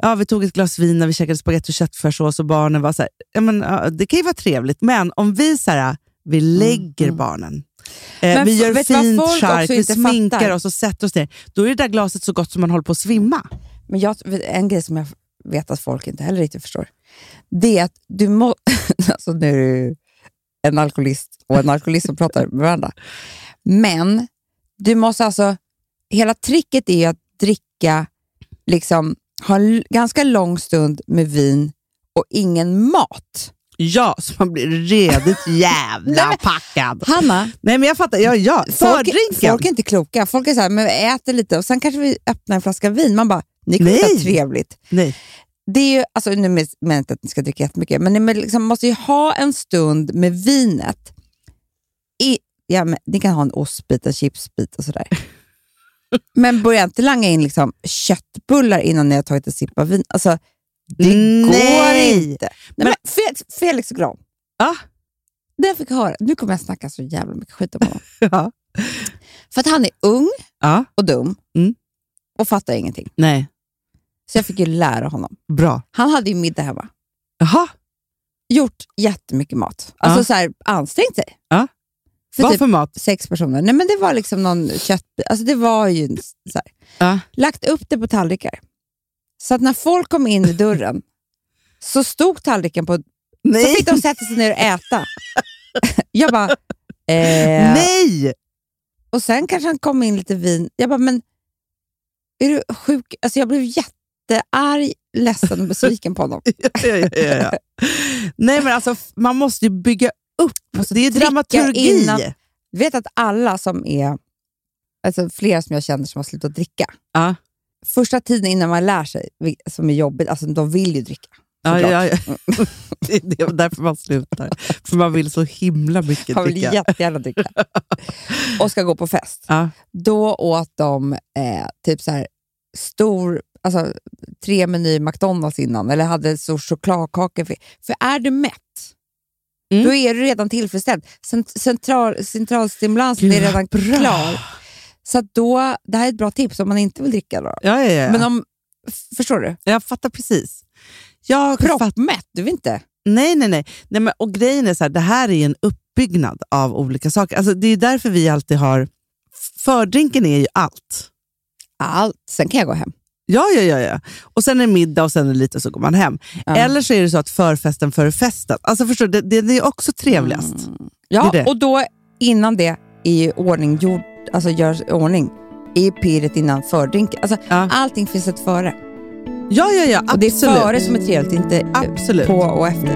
Speaker 5: ja vi tog ett glas vin när vi käkade spagetti och köttfärssås och barnen var så här, ja, men, ja, det kan ju vara trevligt, men om vi så här, vi lägger barnen, eh,
Speaker 6: Mm, Men
Speaker 5: vi
Speaker 6: f-
Speaker 5: gör
Speaker 6: vet du vad
Speaker 5: fint
Speaker 6: folk
Speaker 5: chark,
Speaker 6: också
Speaker 5: vi
Speaker 6: inte
Speaker 5: sminkar
Speaker 6: fattar?
Speaker 5: oss och sätter oss ner, då är det där glaset så gott som man håller på att svimma.
Speaker 6: Men jag, en grej som jag vet att folk inte heller riktigt förstår, det är att du må... [LAUGHS] alltså nu är det ju en alkoholist och en alkoholist som pratar med varandra. Men du måste alltså... Hela tricket är ju att dricka, liksom ha en l- ganska lång stund med vin och ingen mat.
Speaker 5: Ja, så man blir
Speaker 6: [LAUGHS]
Speaker 5: redigt jävla packad.
Speaker 6: Hanna,
Speaker 5: Nej men jag fattar, ja, ja.
Speaker 6: folk,
Speaker 5: fördrinken.
Speaker 6: folk är inte kloka. Folk är så här, men vi äter lite och sen kanske vi öppnar en flaska vin. Man bara, ni kommer inte ha
Speaker 5: Nej.
Speaker 6: trevligt.
Speaker 5: Nej.
Speaker 6: det är ju, alltså, nu menar jag inte att ni ska dricka jättemycket, men ni men liksom måste ju ha en stund med vinet. I, ja, men, ni kan ha en ostbit, en chipsbit
Speaker 5: [LAUGHS]
Speaker 6: och sådär. Men börja inte langa in liksom, köttbullar innan ni har tagit en sipp av vin. Alltså, det
Speaker 5: Nej.
Speaker 6: går inte. Nej, men, Fe- Felix Gran,
Speaker 5: Ja.
Speaker 6: det jag fick höra, nu kommer jag snacka så jävla mycket skit om honom.
Speaker 5: [LAUGHS] Ja.
Speaker 6: För att han är ung
Speaker 5: ja.
Speaker 6: och dum
Speaker 5: Mm.
Speaker 6: och fattar ingenting.
Speaker 5: Nej,
Speaker 6: Så jag fick ju lära honom.
Speaker 5: bra.
Speaker 6: Han hade ju middag hemma.
Speaker 5: Jaha,
Speaker 6: gjort jättemycket mat. Alltså
Speaker 5: Ja.
Speaker 6: så här, ansträngt sig.
Speaker 5: Ja.
Speaker 6: För
Speaker 5: vad
Speaker 6: typ
Speaker 5: för mat?
Speaker 6: sex personer. Nej men det var liksom någon kött... Alltså det var ju en s- så här.
Speaker 5: Ja.
Speaker 6: Lagt upp det på tallrikar. Så att när folk kom in i dörren så stod tallriken på... Så
Speaker 5: Nej!
Speaker 6: fick [LAUGHS] de sätta sig ner och äta. [LAUGHS] Jag bara... Eh,
Speaker 5: Nej! [LAUGHS]
Speaker 6: och sen kanske han kom in lite vin. Jag bara, men är du sjuk? Alltså jag blev jättearg, ledsen och besviken på honom.
Speaker 5: Ja, ja, ja, ja. Nej, men alltså f- man måste ju bygga upp. Alltså, Det är ju
Speaker 6: dricka
Speaker 5: dramaturgi.
Speaker 6: innan- Du vet att alla som är, alltså flera som jag känner som har slutat dricka,
Speaker 5: Ja.
Speaker 6: första tiden innan man lär sig, vil- som är jobbigt, alltså de vill ju dricka.
Speaker 5: Ja,
Speaker 6: såklart.
Speaker 5: ja, [LAUGHS] ja. Det är det- därför man slutar. För man vill så himla mycket
Speaker 6: Man vill
Speaker 5: dricka. [LAUGHS]
Speaker 6: jättegärna dricka. och ska gå på fest.
Speaker 5: Ja.
Speaker 6: Då åt de eh, typ så här stor, alltså tre meny McDonalds innan, eller hade stor chokladkaka. För, för är du mätt,
Speaker 5: Mm.
Speaker 6: då är du redan tillfredsställd. Cent- Central, centralstimulansen
Speaker 5: Gud,
Speaker 6: är redan
Speaker 5: vad bra.
Speaker 6: klar. Så att då, det här är ett bra tips om man inte vill dricka. Då.
Speaker 5: Ja, ja, ja.
Speaker 6: Men om, f- förstår du?
Speaker 5: jag fattar precis. Jag fatt-
Speaker 6: Proppmätt, du vill inte.
Speaker 5: nej, nej, nej. nej men, och grejen är så här, det här är ju en uppbyggnad av olika saker. Alltså, det är ju därför vi alltid har... Fördrinken är ju allt.
Speaker 6: Allt. Sen kan jag gå hem.
Speaker 5: Ja, ja, ja, ja. Och sen är det middag och sen är det lite och så går man hem.
Speaker 6: Ja.
Speaker 5: Eller så är det så att förfesten före festen. Alltså förstår du, det, det är också trevligast.
Speaker 6: Mm. Ja,
Speaker 5: Det är det.
Speaker 6: och då innan det är ju ordning gjord, alltså görs i ordning, är ju pirret innan fördrinken. Alltså,
Speaker 5: Ja.
Speaker 6: Allting finns ett före.
Speaker 5: Ja, ja, ja, absolut.
Speaker 6: Och det är före som är trevligt, inte eh,
Speaker 5: Absolut.
Speaker 6: på och efter.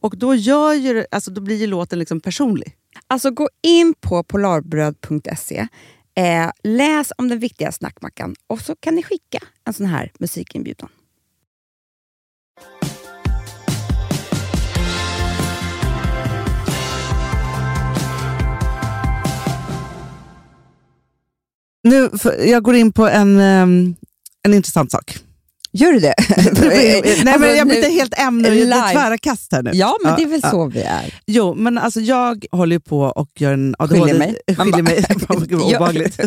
Speaker 5: Och då, gör ju, det- alltså, då blir ju låten liksom personlig.
Speaker 6: Alltså gå in på polarbröd.se, eh, läs om den viktiga snackmackan och så kan ni skicka en sån här musikinbjudan.
Speaker 5: Nu, jag går in på en, en intressant [LAUGHS] sak.
Speaker 6: Gör du det?
Speaker 5: Nej, men jag bytte helt ämne, det
Speaker 6: live.
Speaker 5: är tvära kast här nu.
Speaker 6: Ja, men det är väl
Speaker 5: ja.
Speaker 6: så vi är.
Speaker 5: Jo, men alltså jag håller ju på och gör en ADHD...
Speaker 6: Skiljer mig.
Speaker 5: [LAUGHS]
Speaker 6: Man
Speaker 5: Skiljer
Speaker 6: bara- [LAUGHS]
Speaker 5: mig. Gud, vad
Speaker 6: Ja.
Speaker 5: obehagligt.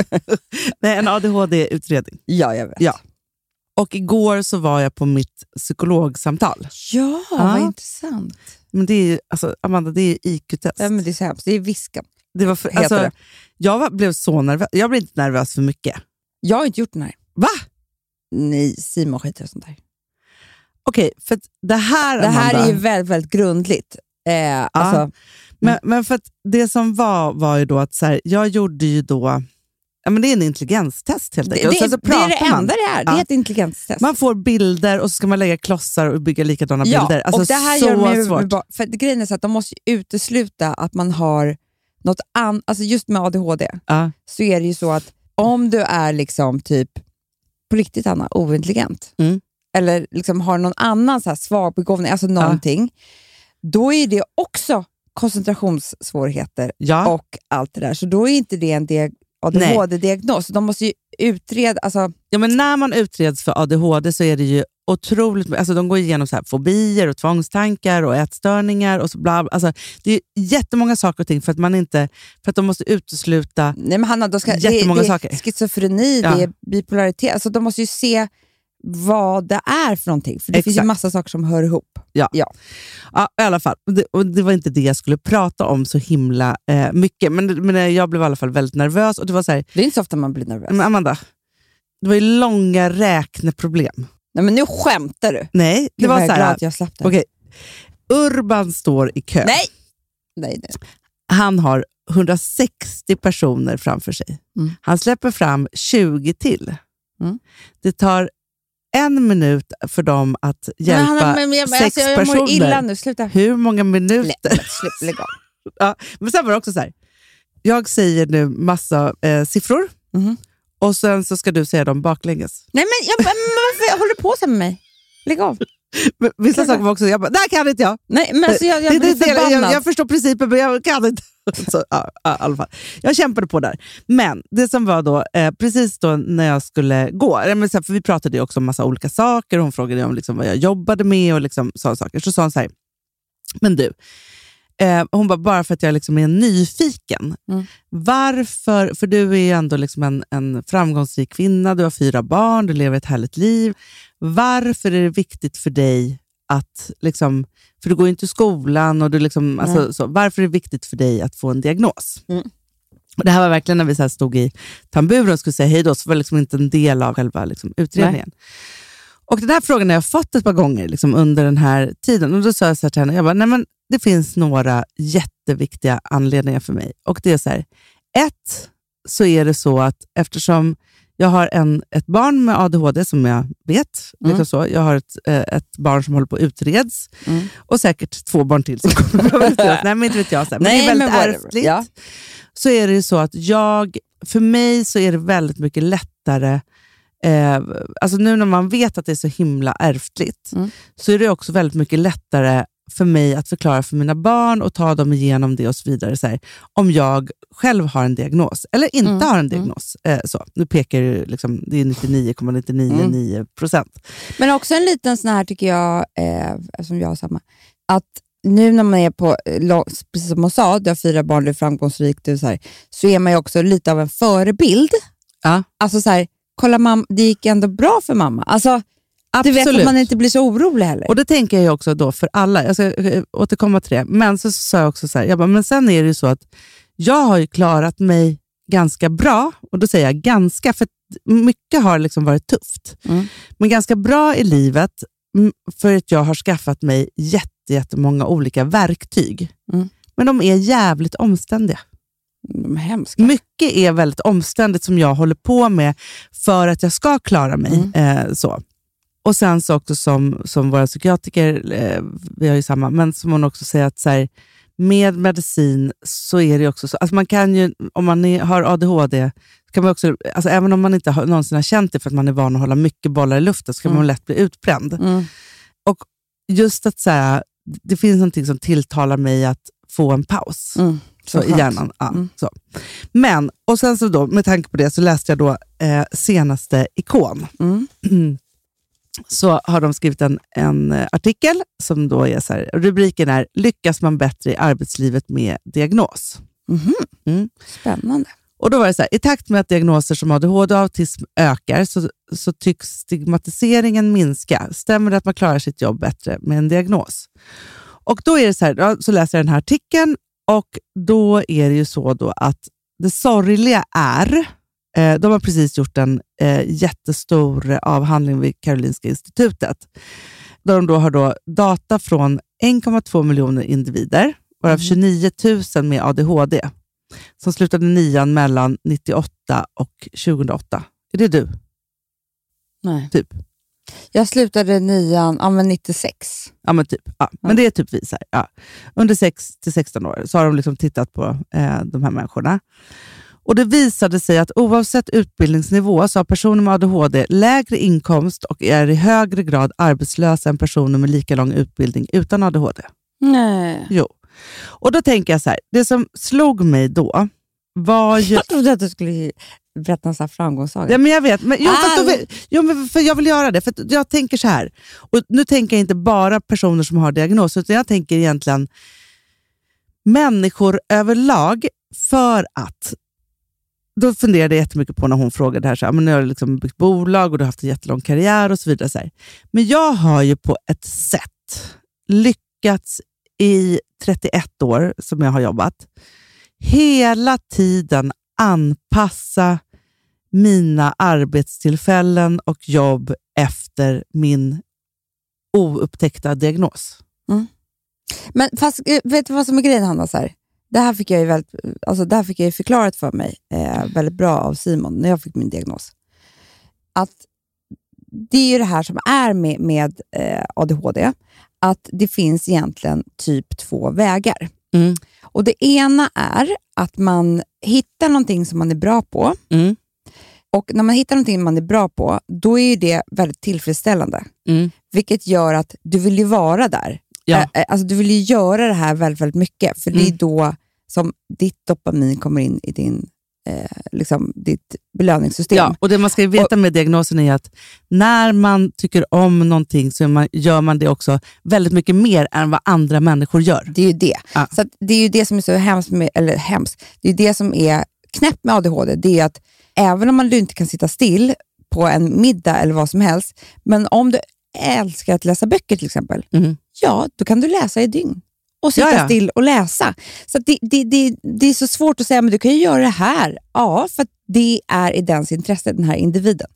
Speaker 5: Nej, en ADHD-utredning.
Speaker 6: [LAUGHS] Ja, jag vet.
Speaker 5: Ja. Och igår så var jag på mitt psykologsamtal.
Speaker 6: Ja,
Speaker 5: Ja.
Speaker 6: vad intressant.
Speaker 5: Men det är ju, alltså, Amanda, det är ju IQ-test.
Speaker 6: Ja, men det är så hemskt. Det är viskan.
Speaker 5: det var för,
Speaker 6: heter
Speaker 5: alltså,
Speaker 6: det.
Speaker 5: jag var, blev så nervös. Jag blir inte nervös för mycket.
Speaker 6: Jag har inte gjort den här.
Speaker 5: Va?
Speaker 6: Nej, Simon skiter i sånt där.
Speaker 5: Okej, för att det här,
Speaker 6: Det här
Speaker 5: Amanda,
Speaker 6: är ju väldigt, väldigt grundligt. Eh, alltså,
Speaker 5: men, men för att det som var var ju då att så här, jag gjorde ju då... Ja, men det är en intelligenstest helt
Speaker 6: det,
Speaker 5: enkelt. Och
Speaker 6: det,
Speaker 5: sen
Speaker 6: är-
Speaker 5: så
Speaker 6: det är
Speaker 5: pratar
Speaker 6: det
Speaker 5: man.
Speaker 6: enda det är. Det
Speaker 5: Ja.
Speaker 6: är ett intelligenstest.
Speaker 5: Man får bilder och så ska man lägga klossar och bygga likadana
Speaker 6: ja,
Speaker 5: bilder. Alltså,
Speaker 6: och det här
Speaker 5: så
Speaker 6: gör de ju
Speaker 5: svårt.
Speaker 6: med barn- för att Grejen är så att de måste ju utesluta att man har något annat. Alltså just med ADHD
Speaker 5: Ja.
Speaker 6: så är det ju så att om du är liksom typ på riktigt Anna, ointelligent
Speaker 5: Mm.
Speaker 6: eller liksom har någon annan så här svag begåvning, alltså någonting, då är det också koncentrationssvårigheter
Speaker 5: Ja.
Speaker 6: och allt det där. Så då är inte det en, diag- ADHD-diagnos. De måste ju utreda... Alltså,
Speaker 5: Ja, men när man utreds för ADHD så är det ju otroligt... Alltså de går igenom så här fobier, och tvångstankar och ätstörningar. Och så bla, bla. Alltså, det är jättemånga saker och ting för att, man inte, för att de måste utesluta...
Speaker 6: nej men Hanna, de ska,
Speaker 5: Jättemånga
Speaker 6: det, det
Speaker 5: saker.
Speaker 6: är schizofreni,
Speaker 5: Ja.
Speaker 6: det är bipolaritet. Alltså, de måste ju se vad det är för någonting. För det finns ju
Speaker 5: Exakt.
Speaker 6: massa saker som hör ihop.
Speaker 5: Ja, i alla fall. Och Det, och det var inte det jag skulle prata om så himla eh, mycket. Men, men eh, jag blev i alla fall väldigt nervös. Och det var så här,
Speaker 6: Det är inte så ofta man blir nervös.
Speaker 5: men Amanda, det var ju långa räkneproblem.
Speaker 6: nej, men nu skämtar du.
Speaker 5: Nej, det
Speaker 6: Gud,
Speaker 5: var
Speaker 6: vad
Speaker 5: så
Speaker 6: jag är glad
Speaker 5: här...
Speaker 6: att jag slapp det.
Speaker 5: Okej, Urban står i kö.
Speaker 6: Nej! Nej, nej.
Speaker 5: han har 160 personer framför sig.
Speaker 6: Mm.
Speaker 5: Han släpper fram 20 till.
Speaker 6: Mm.
Speaker 5: Det tar en minut för dem att hjälpa
Speaker 6: Men Hanna, men jag-
Speaker 5: sex
Speaker 6: alltså, jag
Speaker 5: personer.
Speaker 6: mår illa nu, sluta.
Speaker 5: Hur många minuter?
Speaker 6: Nej, men slu- Lägg av.
Speaker 5: Ja, men sen var det också så här. Jag säger nu massa eh, siffror
Speaker 6: Mhm.
Speaker 5: och sen så ska du säga dem baklänges.
Speaker 6: Nej, men, jag, men varför håller du på så med mig? Lägg av.
Speaker 5: Men vissa
Speaker 6: Kan
Speaker 5: saker var också, jag bara, där kan inte jag.
Speaker 6: Nej, men alltså, jag, jag
Speaker 5: Det-
Speaker 6: blir
Speaker 5: det- det- jag,
Speaker 6: förbannad.
Speaker 5: jag, jag förstår principen, men jag kan inte. [LAUGHS] Så, ja, ja, i alla fall. Jag kämpade på där. Men det som var då, eh, precis då när jag skulle gå, eh, men så här, för vi pratade ju också om massa olika saker, hon frågade om liksom vad jag jobbade med och liksom sådana saker. Så sa hon så här, men du, eh, hon bara, bara för att jag liksom är nyfiken.
Speaker 6: Mm.
Speaker 5: Varför, för du är ju ändå liksom en, en framgångsrik kvinna, du har fyra barn, du lever ett härligt liv. Varför är det viktigt för dig att, liksom, för du går ju inte i skolan, och du liksom, alltså, så, varför är det viktigt för dig att få en diagnos?
Speaker 6: Mm.
Speaker 5: Och det här var verkligen när vi så här stod i tamburen och skulle säga hej då, så var det liksom inte en del av själva liksom, utredningen. Och Den här frågan har jag fått ett par gånger liksom, under den här tiden. Och Då sa jag så här till henne, jag bara, Nej, men det finns några jätteviktiga anledningar för mig. Och det är så här, ett, så är det så att eftersom jag har en, ett barn med ADHD som jag vet,
Speaker 6: Mm.
Speaker 5: liksom så. jag har ett, eh, ett barn som håller på att utreds
Speaker 6: Mm.
Speaker 5: och säkert två barn till som kommer att behöva
Speaker 6: [LAUGHS]
Speaker 5: utredas. Nej, men inte vet jag. Så här. Men
Speaker 6: Nej,
Speaker 5: det är väldigt
Speaker 6: men whatever.
Speaker 5: ärftligt.
Speaker 6: Ja.
Speaker 5: Så är det ju så att jag, för mig så är det väldigt mycket lättare Eh, alltså nu när man vet att det är så himla ärftligt,
Speaker 6: Mm.
Speaker 5: så är det också väldigt mycket lättare för mig att förklara för mina barn och ta dem igenom det och så vidare. Så här, om jag själv har en diagnos, eller inte
Speaker 6: Mm,
Speaker 5: har en
Speaker 6: mm.
Speaker 5: diagnos. Eh, så. Nu pekar det ju liksom, det är 99,999 procent.
Speaker 6: Men också en liten sån här, tycker jag, eh, som jag har samma, att nu när man är på, eh, lång- precis som hon sa, du har fyra barn, du är framgångsrik, du är så, här, så är man ju också lite av en förebild.
Speaker 5: Ja.
Speaker 6: Alltså så här, kolla mamma, det gick ändå bra för mamma. Alltså, du vet att
Speaker 5: Absolut.
Speaker 6: man inte blir så orolig heller.
Speaker 5: Och det tänker jag ju också då för alla. Jag ska eh, återkomma till det. Men så sa jag också så här, jag bara, men sen är det ju så att jag har ju klarat mig ganska bra. Och då säger jag ganska, för mycket har liksom varit tufft.
Speaker 6: Mm.
Speaker 5: Men ganska bra i livet mm, för att jag har skaffat mig jätte, jättemånga olika verktyg.
Speaker 6: Mm.
Speaker 5: Men de är jävligt omständiga.
Speaker 6: De är hemska.
Speaker 5: Mycket är väldigt omständigt som jag håller på med för att jag ska klara mig. Eh, så. Och sen så också som, som våra psykiatriker, eh, vi har ju samma, men som hon också säger att så här, med medicin så är det ju också så, alltså man kan ju, om man är, har ADHD, så kan man också, alltså även om man inte har, någonsin har känt det för att man är van att hålla mycket bollar i luften, så kan man lätt bli utbränd
Speaker 6: Mm.
Speaker 5: just att så här, det finns någonting som tilltalar mig att få en paus
Speaker 6: Mm,
Speaker 5: så,
Speaker 6: så
Speaker 5: i
Speaker 6: skönt.
Speaker 5: hjärnan. Ja,
Speaker 6: Mm.
Speaker 5: så. Men, och sen så då, med tanke på det så läste jag då eh, senaste Ikon.
Speaker 6: Mm.
Speaker 5: [CLEARS THROAT] Så har de skrivit en, en eh, artikel som då är så här, rubriken är “Lyckas man bättre i arbetslivet med diagnos?”
Speaker 6: Mhm.
Speaker 5: Mm.
Speaker 6: Spännande.
Speaker 5: Och då var det så här, I takt med att diagnoser som ADHD och autism ökar så, så tycks stigmatiseringen minska. Stämmer det att man klarar sitt jobb bättre med en diagnos? Och då är det så här, ja, så läser jag den här artikeln och då är det ju så då att det sorgliga är, eh, de har precis gjort en eh, jättestor avhandling vid Karolinska institutet, där de då har då data från 1,2 miljoner individer, varav 29 000 med ADHD som slutade nian mellan 98 och 2008. Är det du?
Speaker 6: Nej.
Speaker 5: Typ.
Speaker 6: Jag slutade nian, ja men 96.
Speaker 5: Ja, men, typ. Ja, men det är typ vi. Så här. Ja. Under 6 till 16 år så har de liksom tittat på eh, de här människorna. Och Det visade sig att oavsett utbildningsnivå så har personer med ADHD lägre inkomst och är i högre grad arbetslösa än personer med lika lång utbildning utan ADHD.
Speaker 6: Nej.
Speaker 5: Jo. Och då tänker jag så här, det som slog mig då var ju...
Speaker 6: Jag trodde att du skulle berätta en sån här framgångssaga.
Speaker 5: Ja, men jag vet, men, jo, för, att då
Speaker 6: Ah.
Speaker 5: vill, jo, men för jag vill göra det. För att jag tänker så här, och nu tänker jag inte bara personer som har diagnos, utan jag tänker egentligen människor överlag för att då funderade jag jättemycket på när hon frågade här, så här men nu har du liksom byggt bolag och du har haft en jättelång karriär och så vidare. Så här. Men jag har ju på ett sätt lyckats i 31 år som jag har jobbat, hela tiden anpassa mina arbetstillfällen och jobb efter min oupptäckta diagnos.
Speaker 6: Men fast, eh, vet du vad som är grejen Hanna? Så här? Det, här fick jag ju väldigt, alltså, det här fick jag ju förklarat för mig eh, väldigt bra av Simon när jag fick min diagnos. Att det är ju det här som är med, med eh, ADHD, att det finns egentligen typ två vägar.
Speaker 5: Mm.
Speaker 6: Och Det ena är att man hittar någonting som man är bra på.
Speaker 5: Mm.
Speaker 6: Och När man hittar någonting man är bra på, då är ju det väldigt tillfredsställande.
Speaker 5: Mm.
Speaker 6: Vilket gör att du vill ju vara där.
Speaker 5: Ja.
Speaker 6: Ä- ä- Alltså, du vill ju göra det här väldigt, väldigt mycket, för det är
Speaker 5: Mm.
Speaker 6: då som ditt dopamin kommer in i din, eh, liksom, ditt belöningssystem.
Speaker 5: Ja, och det man ska ju veta med diagnosen är att när man tycker om någonting så är man, gör man det också väldigt mycket mer än vad andra människor gör.
Speaker 6: Det är ju det.
Speaker 5: Ja.
Speaker 6: Så att det är ju det som är så hemskt, med, eller hemskt, det är ju det som är knäppt med ADHD, det är att även om man inte kan sitta still på en middag eller vad som helst, men om du älskar att läsa böcker till exempel,
Speaker 5: Mm.
Speaker 6: ja, då kan du läsa i dygn och sitta
Speaker 5: Ja, ja.
Speaker 6: still och läsa. Så att det, det, det, det är så svårt att säga, men du kan ju göra det här. Ja, för att det är i dens intresse, den här individen.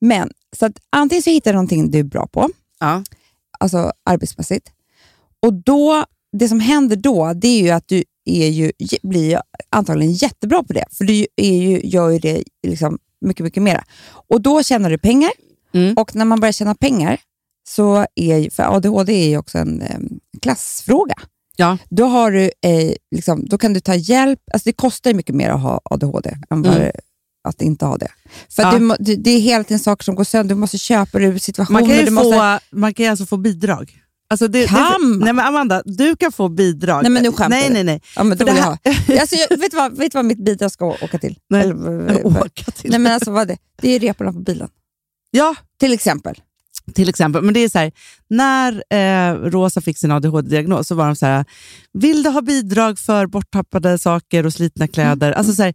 Speaker 6: Men, så att antingen så hittar du någonting du är bra på,
Speaker 5: Ja.
Speaker 6: alltså arbetsmässigt. Och då, det som händer då, det är ju att du är ju, blir ju antagligen jättebra på det. För du är ju, gör ju det liksom mycket, mycket mera. Och då tjänar du pengar.
Speaker 5: Mm.
Speaker 6: Och när man börjar tjäna pengar, så är ju, för ADHD är ju också en eh, klassfråga.
Speaker 5: Ja.
Speaker 6: Då, har du, eh, liksom, då kan du ta hjälp. Alltså det kostar ju mycket mer att ha ADHD än vad
Speaker 5: Mm.
Speaker 6: det- att inte ha det. För att
Speaker 5: Ja.
Speaker 6: du må- du, det är hela tiden saker som går sönder. Du måste köpa dig ur situationer.
Speaker 5: Man kan, ju
Speaker 6: du
Speaker 5: få,
Speaker 6: måste,
Speaker 5: man kan ju alltså få bidrag. Alltså det,
Speaker 6: Kan
Speaker 5: det,
Speaker 6: man?
Speaker 5: nej men Amanda, du kan få bidrag.
Speaker 6: Nej, men nu skämtar
Speaker 5: Nej,
Speaker 6: du.
Speaker 5: nej, nej.
Speaker 6: Ja, men
Speaker 5: För
Speaker 6: då
Speaker 5: det
Speaker 6: vill jag
Speaker 5: här-
Speaker 6: ha. Alltså, jag, vet, du vad, vet du vad mitt bidrag ska å- åka till?
Speaker 5: Nej.
Speaker 6: Eller, eh, vad-
Speaker 5: Åka till.
Speaker 6: nej men alltså, vad det, det är ju reporna på bilen,
Speaker 5: Ja,
Speaker 6: till exempel.
Speaker 5: till exempel. Men det är så här, när eh, Rosa fick sin ADHD-diagnos så var de så här, vill du ha bidrag för borttappade saker och
Speaker 6: Mm.
Speaker 5: slitna kläder? Alltså så här,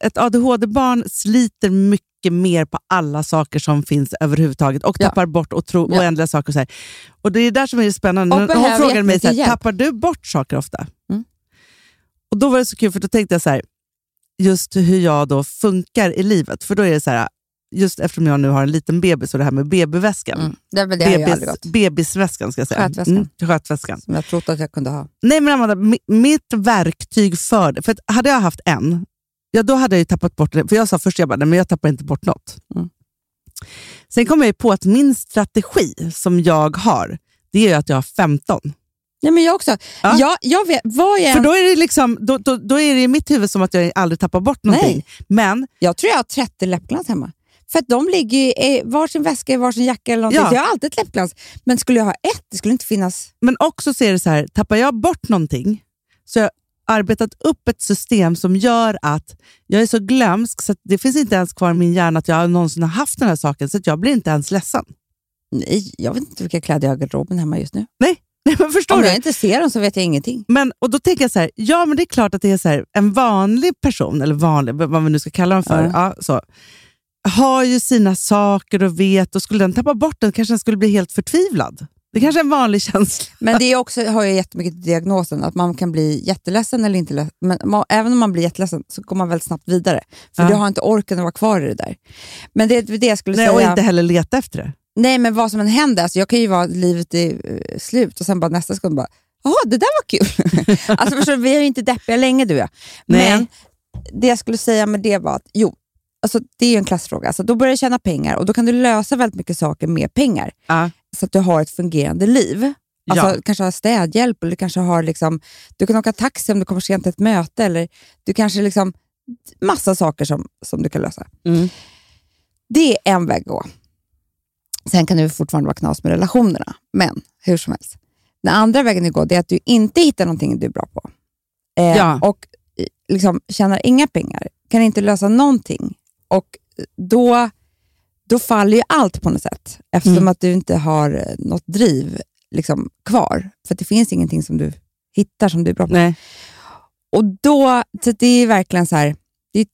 Speaker 5: ett ADHD-barn sliter mycket mer på alla saker som finns överhuvudtaget och
Speaker 6: Ja.
Speaker 5: tappar bort och tro,
Speaker 6: Ja.
Speaker 5: oändliga saker. Och, så här. och Det är där som är spännande.
Speaker 6: Och
Speaker 5: Hon
Speaker 6: behöver
Speaker 5: frågade mig, så här,
Speaker 6: jättemycket hjälp.
Speaker 5: tappar du bort saker ofta?
Speaker 6: Mm.
Speaker 5: Och Då var det så kul, för då tänkte jag så här, just hur jag då funkar i livet. För då är det så här, just eftersom jag nu har en liten bebis och det här med BB-väskan.
Speaker 6: Mm. Det, men det har jag ju
Speaker 5: Bebis,
Speaker 6: aldrig gått,
Speaker 5: bebisväskan ska jag säga. Mm,
Speaker 6: Skötväskan.
Speaker 5: skötväskan.
Speaker 6: som jag trodde att jag kunde ha.
Speaker 5: Nej men Amanda, mi- mitt verktyg för det, för att hade jag haft en, ja då hade jag ju tappat bort det. För jag sa först, jag bara, nej men jag tappar inte bort något.
Speaker 6: Mm.
Speaker 5: Sen kom jag ju på att min strategi som jag har, det är ju att jag har 15.
Speaker 6: Nej, men jag också.
Speaker 5: Ja.
Speaker 6: Jag, jag vet, vad jag,
Speaker 5: För
Speaker 6: än-
Speaker 5: då är det liksom, då, då, då är det i mitt huvud som att jag aldrig tappar bort någonting.
Speaker 6: Nej.
Speaker 5: Men
Speaker 6: jag tror jag har 30 läppglans hemma. För att de ligger ju i varsin väska, i varsin jacka eller någonting.
Speaker 5: Ja.
Speaker 6: Så jag har alltid ett läppglans. Men skulle jag ha ett, det skulle inte finnas.
Speaker 5: Men också så är det så här, tappar jag bort någonting så har jag arbetat upp ett system som gör att jag är så glömsk så att det finns inte ens kvar i min hjärna att jag någonsin har haft den här saken så att jag blir inte ens ledsen. [LAUGHS]
Speaker 6: Nej, jag vet inte vilka kläder jag har i garderoben hemma just nu.
Speaker 5: Nej, men förstår
Speaker 6: Om
Speaker 5: du?
Speaker 6: jag inte ser dem så vet jag ingenting.
Speaker 5: Men, och då tänker jag så här, ja men det är klart att det är så här, en vanlig person, eller vanlig, vad vad vi nu ska kalla dem för,
Speaker 6: Ja.
Speaker 5: ja. så, har ju sina saker och vet och skulle den tappa bort den kanske den skulle bli helt förtvivlad. Det kanske är en vanlig känsla.
Speaker 6: Men det är också, har ju jättemycket till diagnosen, att man kan bli jätteledsen eller inte ledsen. Men ma- även om man blir jätteledsen så går man väldigt snabbt vidare. För
Speaker 5: Ja.
Speaker 6: du har inte orken att vara kvar i det där. Men det är det jag skulle
Speaker 5: Nej, och
Speaker 6: säga.
Speaker 5: inte heller leta efter det.
Speaker 6: Nej, men vad som än händer. Alltså jag kan ju vara livet i eh, slut och sen bara nästa sekund bara, jaha, det där var kul. [LAUGHS] alltså förstår du, vi är ju inte deppiga länge du och jag.
Speaker 5: Nej.
Speaker 6: Men det jag skulle säga med det var att, jo, alltså det är ju en klassfråga. Alltså då börjar du tjäna pengar och då kan du lösa väldigt mycket saker med pengar
Speaker 5: Ja.
Speaker 6: så att du har ett fungerande liv. Alltså,
Speaker 5: Ja.
Speaker 6: Kanske har städhjälp, eller du, kanske har liksom, du kan åka taxi om du kommer sent till ett möte. Eller du kanske liksom, Massa saker som, som du kan lösa.
Speaker 5: Mm.
Speaker 6: Det är en väg att gå. Sen kan det ju fortfarande vara knas med relationerna, men hur som helst. Den andra vägen att gå det är att du inte hittar någonting du är bra på. Eh,
Speaker 5: Ja.
Speaker 6: Och liksom, tjänar inga pengar, kan inte lösa någonting. Och då, då faller ju allt på något sätt, eftersom
Speaker 5: Mm.
Speaker 6: att du inte har eh, något driv liksom, kvar. För att det finns ingenting som du hittar som du är bra på.
Speaker 5: Nej.
Speaker 6: Och då, så det är verkligen så här, det är ett-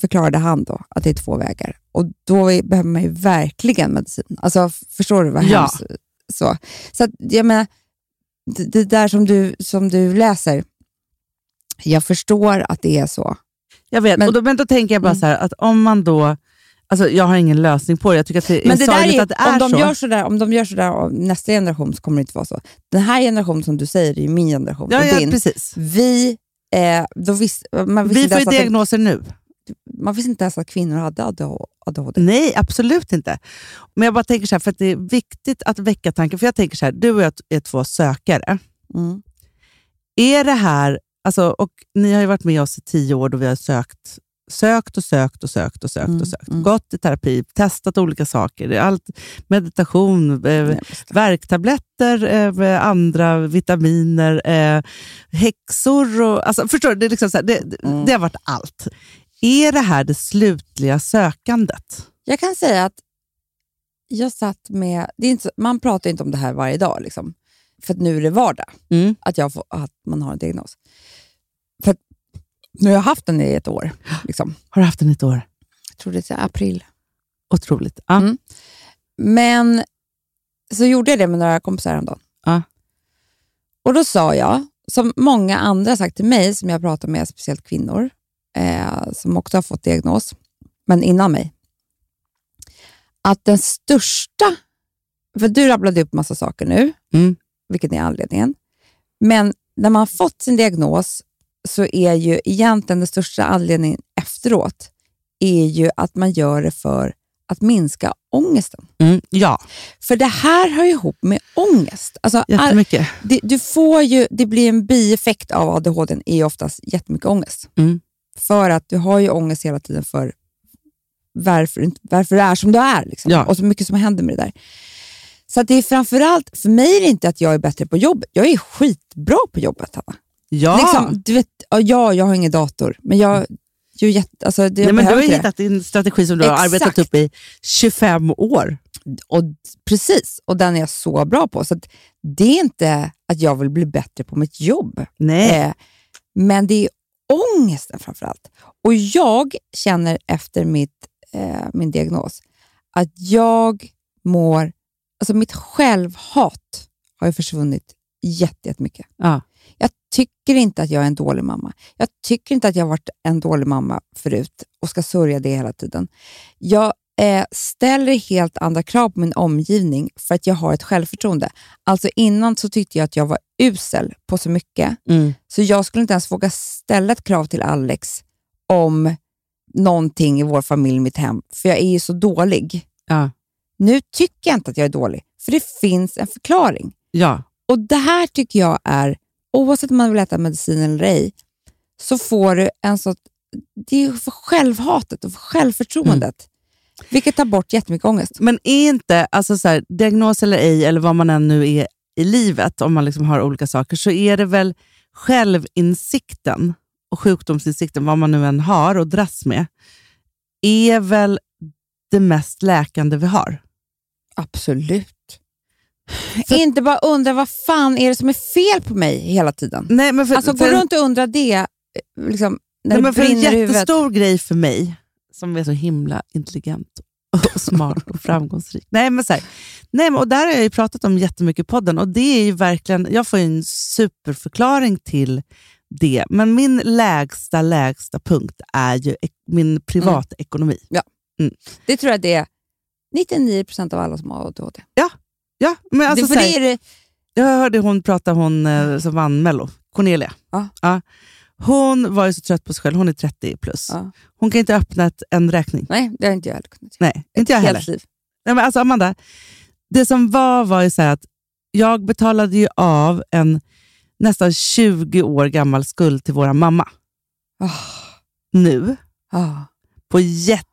Speaker 6: förklarade han då att det är två vägar. Och då är, behöver man ju verkligen medicin. Alltså, f- förstår du vad
Speaker 5: Ja.
Speaker 6: hemskt? Så, så att, jag menar, det, det där som du, som du läser, jag förstår att det är så.
Speaker 5: Jag vet,
Speaker 6: Men-
Speaker 5: men, och då, men då tänker jag bara
Speaker 6: Mm.
Speaker 5: så här, att om man då... Alltså jag har ingen lösning på det. Jag tycker att det är
Speaker 6: Men det där
Speaker 5: sorgligt
Speaker 6: är,
Speaker 5: att det är
Speaker 6: om, de
Speaker 5: så.
Speaker 6: Gör sådär, om de gör sådär av nästa generation så kommer det inte vara så. Den här generationen som du säger är ju min generation
Speaker 5: ja,
Speaker 6: och
Speaker 5: ja,
Speaker 6: din.
Speaker 5: precis.
Speaker 6: Vi, eh, då visst, man, visste
Speaker 5: Vi
Speaker 6: inte
Speaker 5: får ju
Speaker 6: ens att,
Speaker 5: diagnoser nu.
Speaker 6: man visste inte ens att kvinnor hade ADHD.
Speaker 5: Nej, absolut inte. Men jag bara tänker så här, för att det är viktigt att väcka tanken. För jag tänker så här, du och jag är två sökare.
Speaker 6: Mm.
Speaker 5: Är det här, alltså, och ni har ju varit med oss i tio år då vi har sökt, sökt och sökt och sökt och sökt
Speaker 6: Mm,
Speaker 5: och sökt.
Speaker 6: mm.
Speaker 5: Gått i terapi, testat olika saker. Allt, meditation, eh,
Speaker 6: Nej, visst.
Speaker 5: värktabletter, eh, med andra vitaminer, eh, häxor. Och, alltså, förstår du? Det, är liksom så här, det, det-
Speaker 6: Mm.
Speaker 5: det har varit allt. Är det här det slutliga sökandet?
Speaker 6: Jag kan säga att jag satt med... Det är inte, så- man pratar ju inte om det här varje dag, liksom, för att nu är det vardag
Speaker 5: Mm.
Speaker 6: att, jag får, att man har en diagnos. För att, nu har jag haft den i ett år. Liksom.
Speaker 5: Har du haft den i ett år?
Speaker 6: Jag tror det är april.
Speaker 5: Otroligt. Ja.
Speaker 6: Mm. Men så gjorde jag det med några kompisar häromdagen.
Speaker 5: Ja.
Speaker 6: Och då sa jag, som många andra sagt till mig, som jag pratar med, speciellt kvinnor, eh, som också har fått diagnos, men innan mig, att den största, för du rabblade upp massa saker nu,
Speaker 5: Mm.
Speaker 6: vilket är anledningen, men när man har fått sin diagnos så är ju egentligen den största anledningen efteråt är ju att man gör det för att minska ångesten.
Speaker 5: Mm. Ja,
Speaker 6: För det här hör ju ihop med ångest. Alltså, all,
Speaker 5: jättemycket.
Speaker 6: det, du får ju, det blir en bieffekt av ADHD, är ju oftast jättemycket ångest.
Speaker 5: Mm.
Speaker 6: För att du har ju ångest hela tiden för varför, du inte- varför du är som du är. Liksom.
Speaker 5: Ja.
Speaker 6: Och så mycket som händer med det där. Så att det är framförallt, för mig är det inte att jag är bättre på jobbet. Jag är skitbra på jobbet, Hanna.
Speaker 5: Ja.
Speaker 6: Liksom, du vet, ja, jag, jag har ingen dator, men jag, jag, jätte, alltså, det, jag
Speaker 5: Nej, men du har
Speaker 6: behöver
Speaker 5: ju
Speaker 6: inte det.
Speaker 5: hittat din strategi som du har
Speaker 6: Exakt.
Speaker 5: arbetat upp i 25 år.
Speaker 6: Och, precis, och den är jag så bra på. Så att det är inte att jag vill bli bättre på mitt jobb,
Speaker 5: Nej.
Speaker 6: eh, men det är ångesten framför allt. Och jag känner efter mitt, eh, min diagnos att jag mår... Alltså mitt självhat har ju försvunnit jätte- jättemycket.
Speaker 5: Ja.
Speaker 6: Jag tycker inte att jag är en dålig mamma. Jag tycker inte att jag har varit en dålig mamma förut och ska sörja det hela tiden. Jag eh, ställer helt andra krav på min omgivning för att jag har ett självförtroende. Alltså innan så tyckte jag att jag var usel på så mycket,
Speaker 5: Mm.
Speaker 6: så jag skulle inte ens våga ställa ett krav till Alex om någonting i vår familj, mitt hem, för jag är ju så dålig.
Speaker 5: Ja.
Speaker 6: Nu tycker jag inte att jag är dålig, för det finns en förklaring.
Speaker 5: Ja.
Speaker 6: Och det här tycker jag är, oavsett om man vill äta medicin eller ej, så får du en sån... Det är ju för självhatet och för självförtroendet, vilket tar bort jättemycket ångest.
Speaker 5: Men är inte, alltså så här, diagnos eller ej, eller vad man än nu är i livet, om man liksom har olika saker, så är det väl självinsikten och sjukdomsinsikten, vad man nu än har och dras med, är väl det mest läkande vi har.
Speaker 6: Absolut. Inte bara undra vad fan är det som är fel på mig hela tiden.
Speaker 5: Nej, men för,
Speaker 6: Alltså gå
Speaker 5: för-
Speaker 6: runt och undra det eh, liksom, när
Speaker 5: Nej,
Speaker 6: det
Speaker 5: men för en
Speaker 6: brinner i huvudet.
Speaker 5: jättestor grej för mig, som är så himla intelligent och [LAUGHS] smart och framgångsrik. Nej, men så här, nej, men, och där har jag ju pratat om jättemycket i podden och det är ju verkligen, jag får ju en superförklaring till det. Men min lägsta, lägsta punkt är ju ek- min privatekonomi.
Speaker 6: Mm. Det tror jag det är 99% av alla som har ADHD.
Speaker 5: Ja, men alltså,
Speaker 6: det, för
Speaker 5: så här,
Speaker 6: det är det,
Speaker 5: Jag hörde hon prata, hon eh, som vann Mello, Cornelia.
Speaker 6: Mm. Ja.
Speaker 5: Hon var ju så trött på sig själv, hon är 30 plus.
Speaker 6: Ja.
Speaker 5: Hon kan inte öppna ett, en räkning.
Speaker 6: nej, det har inte jag heller kunnat göra.
Speaker 5: Nej, inte jag
Speaker 6: Hela
Speaker 5: heller.
Speaker 6: sitt liv.
Speaker 5: Nej, men alltså Amanda, det som var var ju så här att jag betalade ju av en nästan 20 år gammal skuld till våra mamma
Speaker 6: Ah,
Speaker 5: nu
Speaker 6: ah.
Speaker 5: på jätte,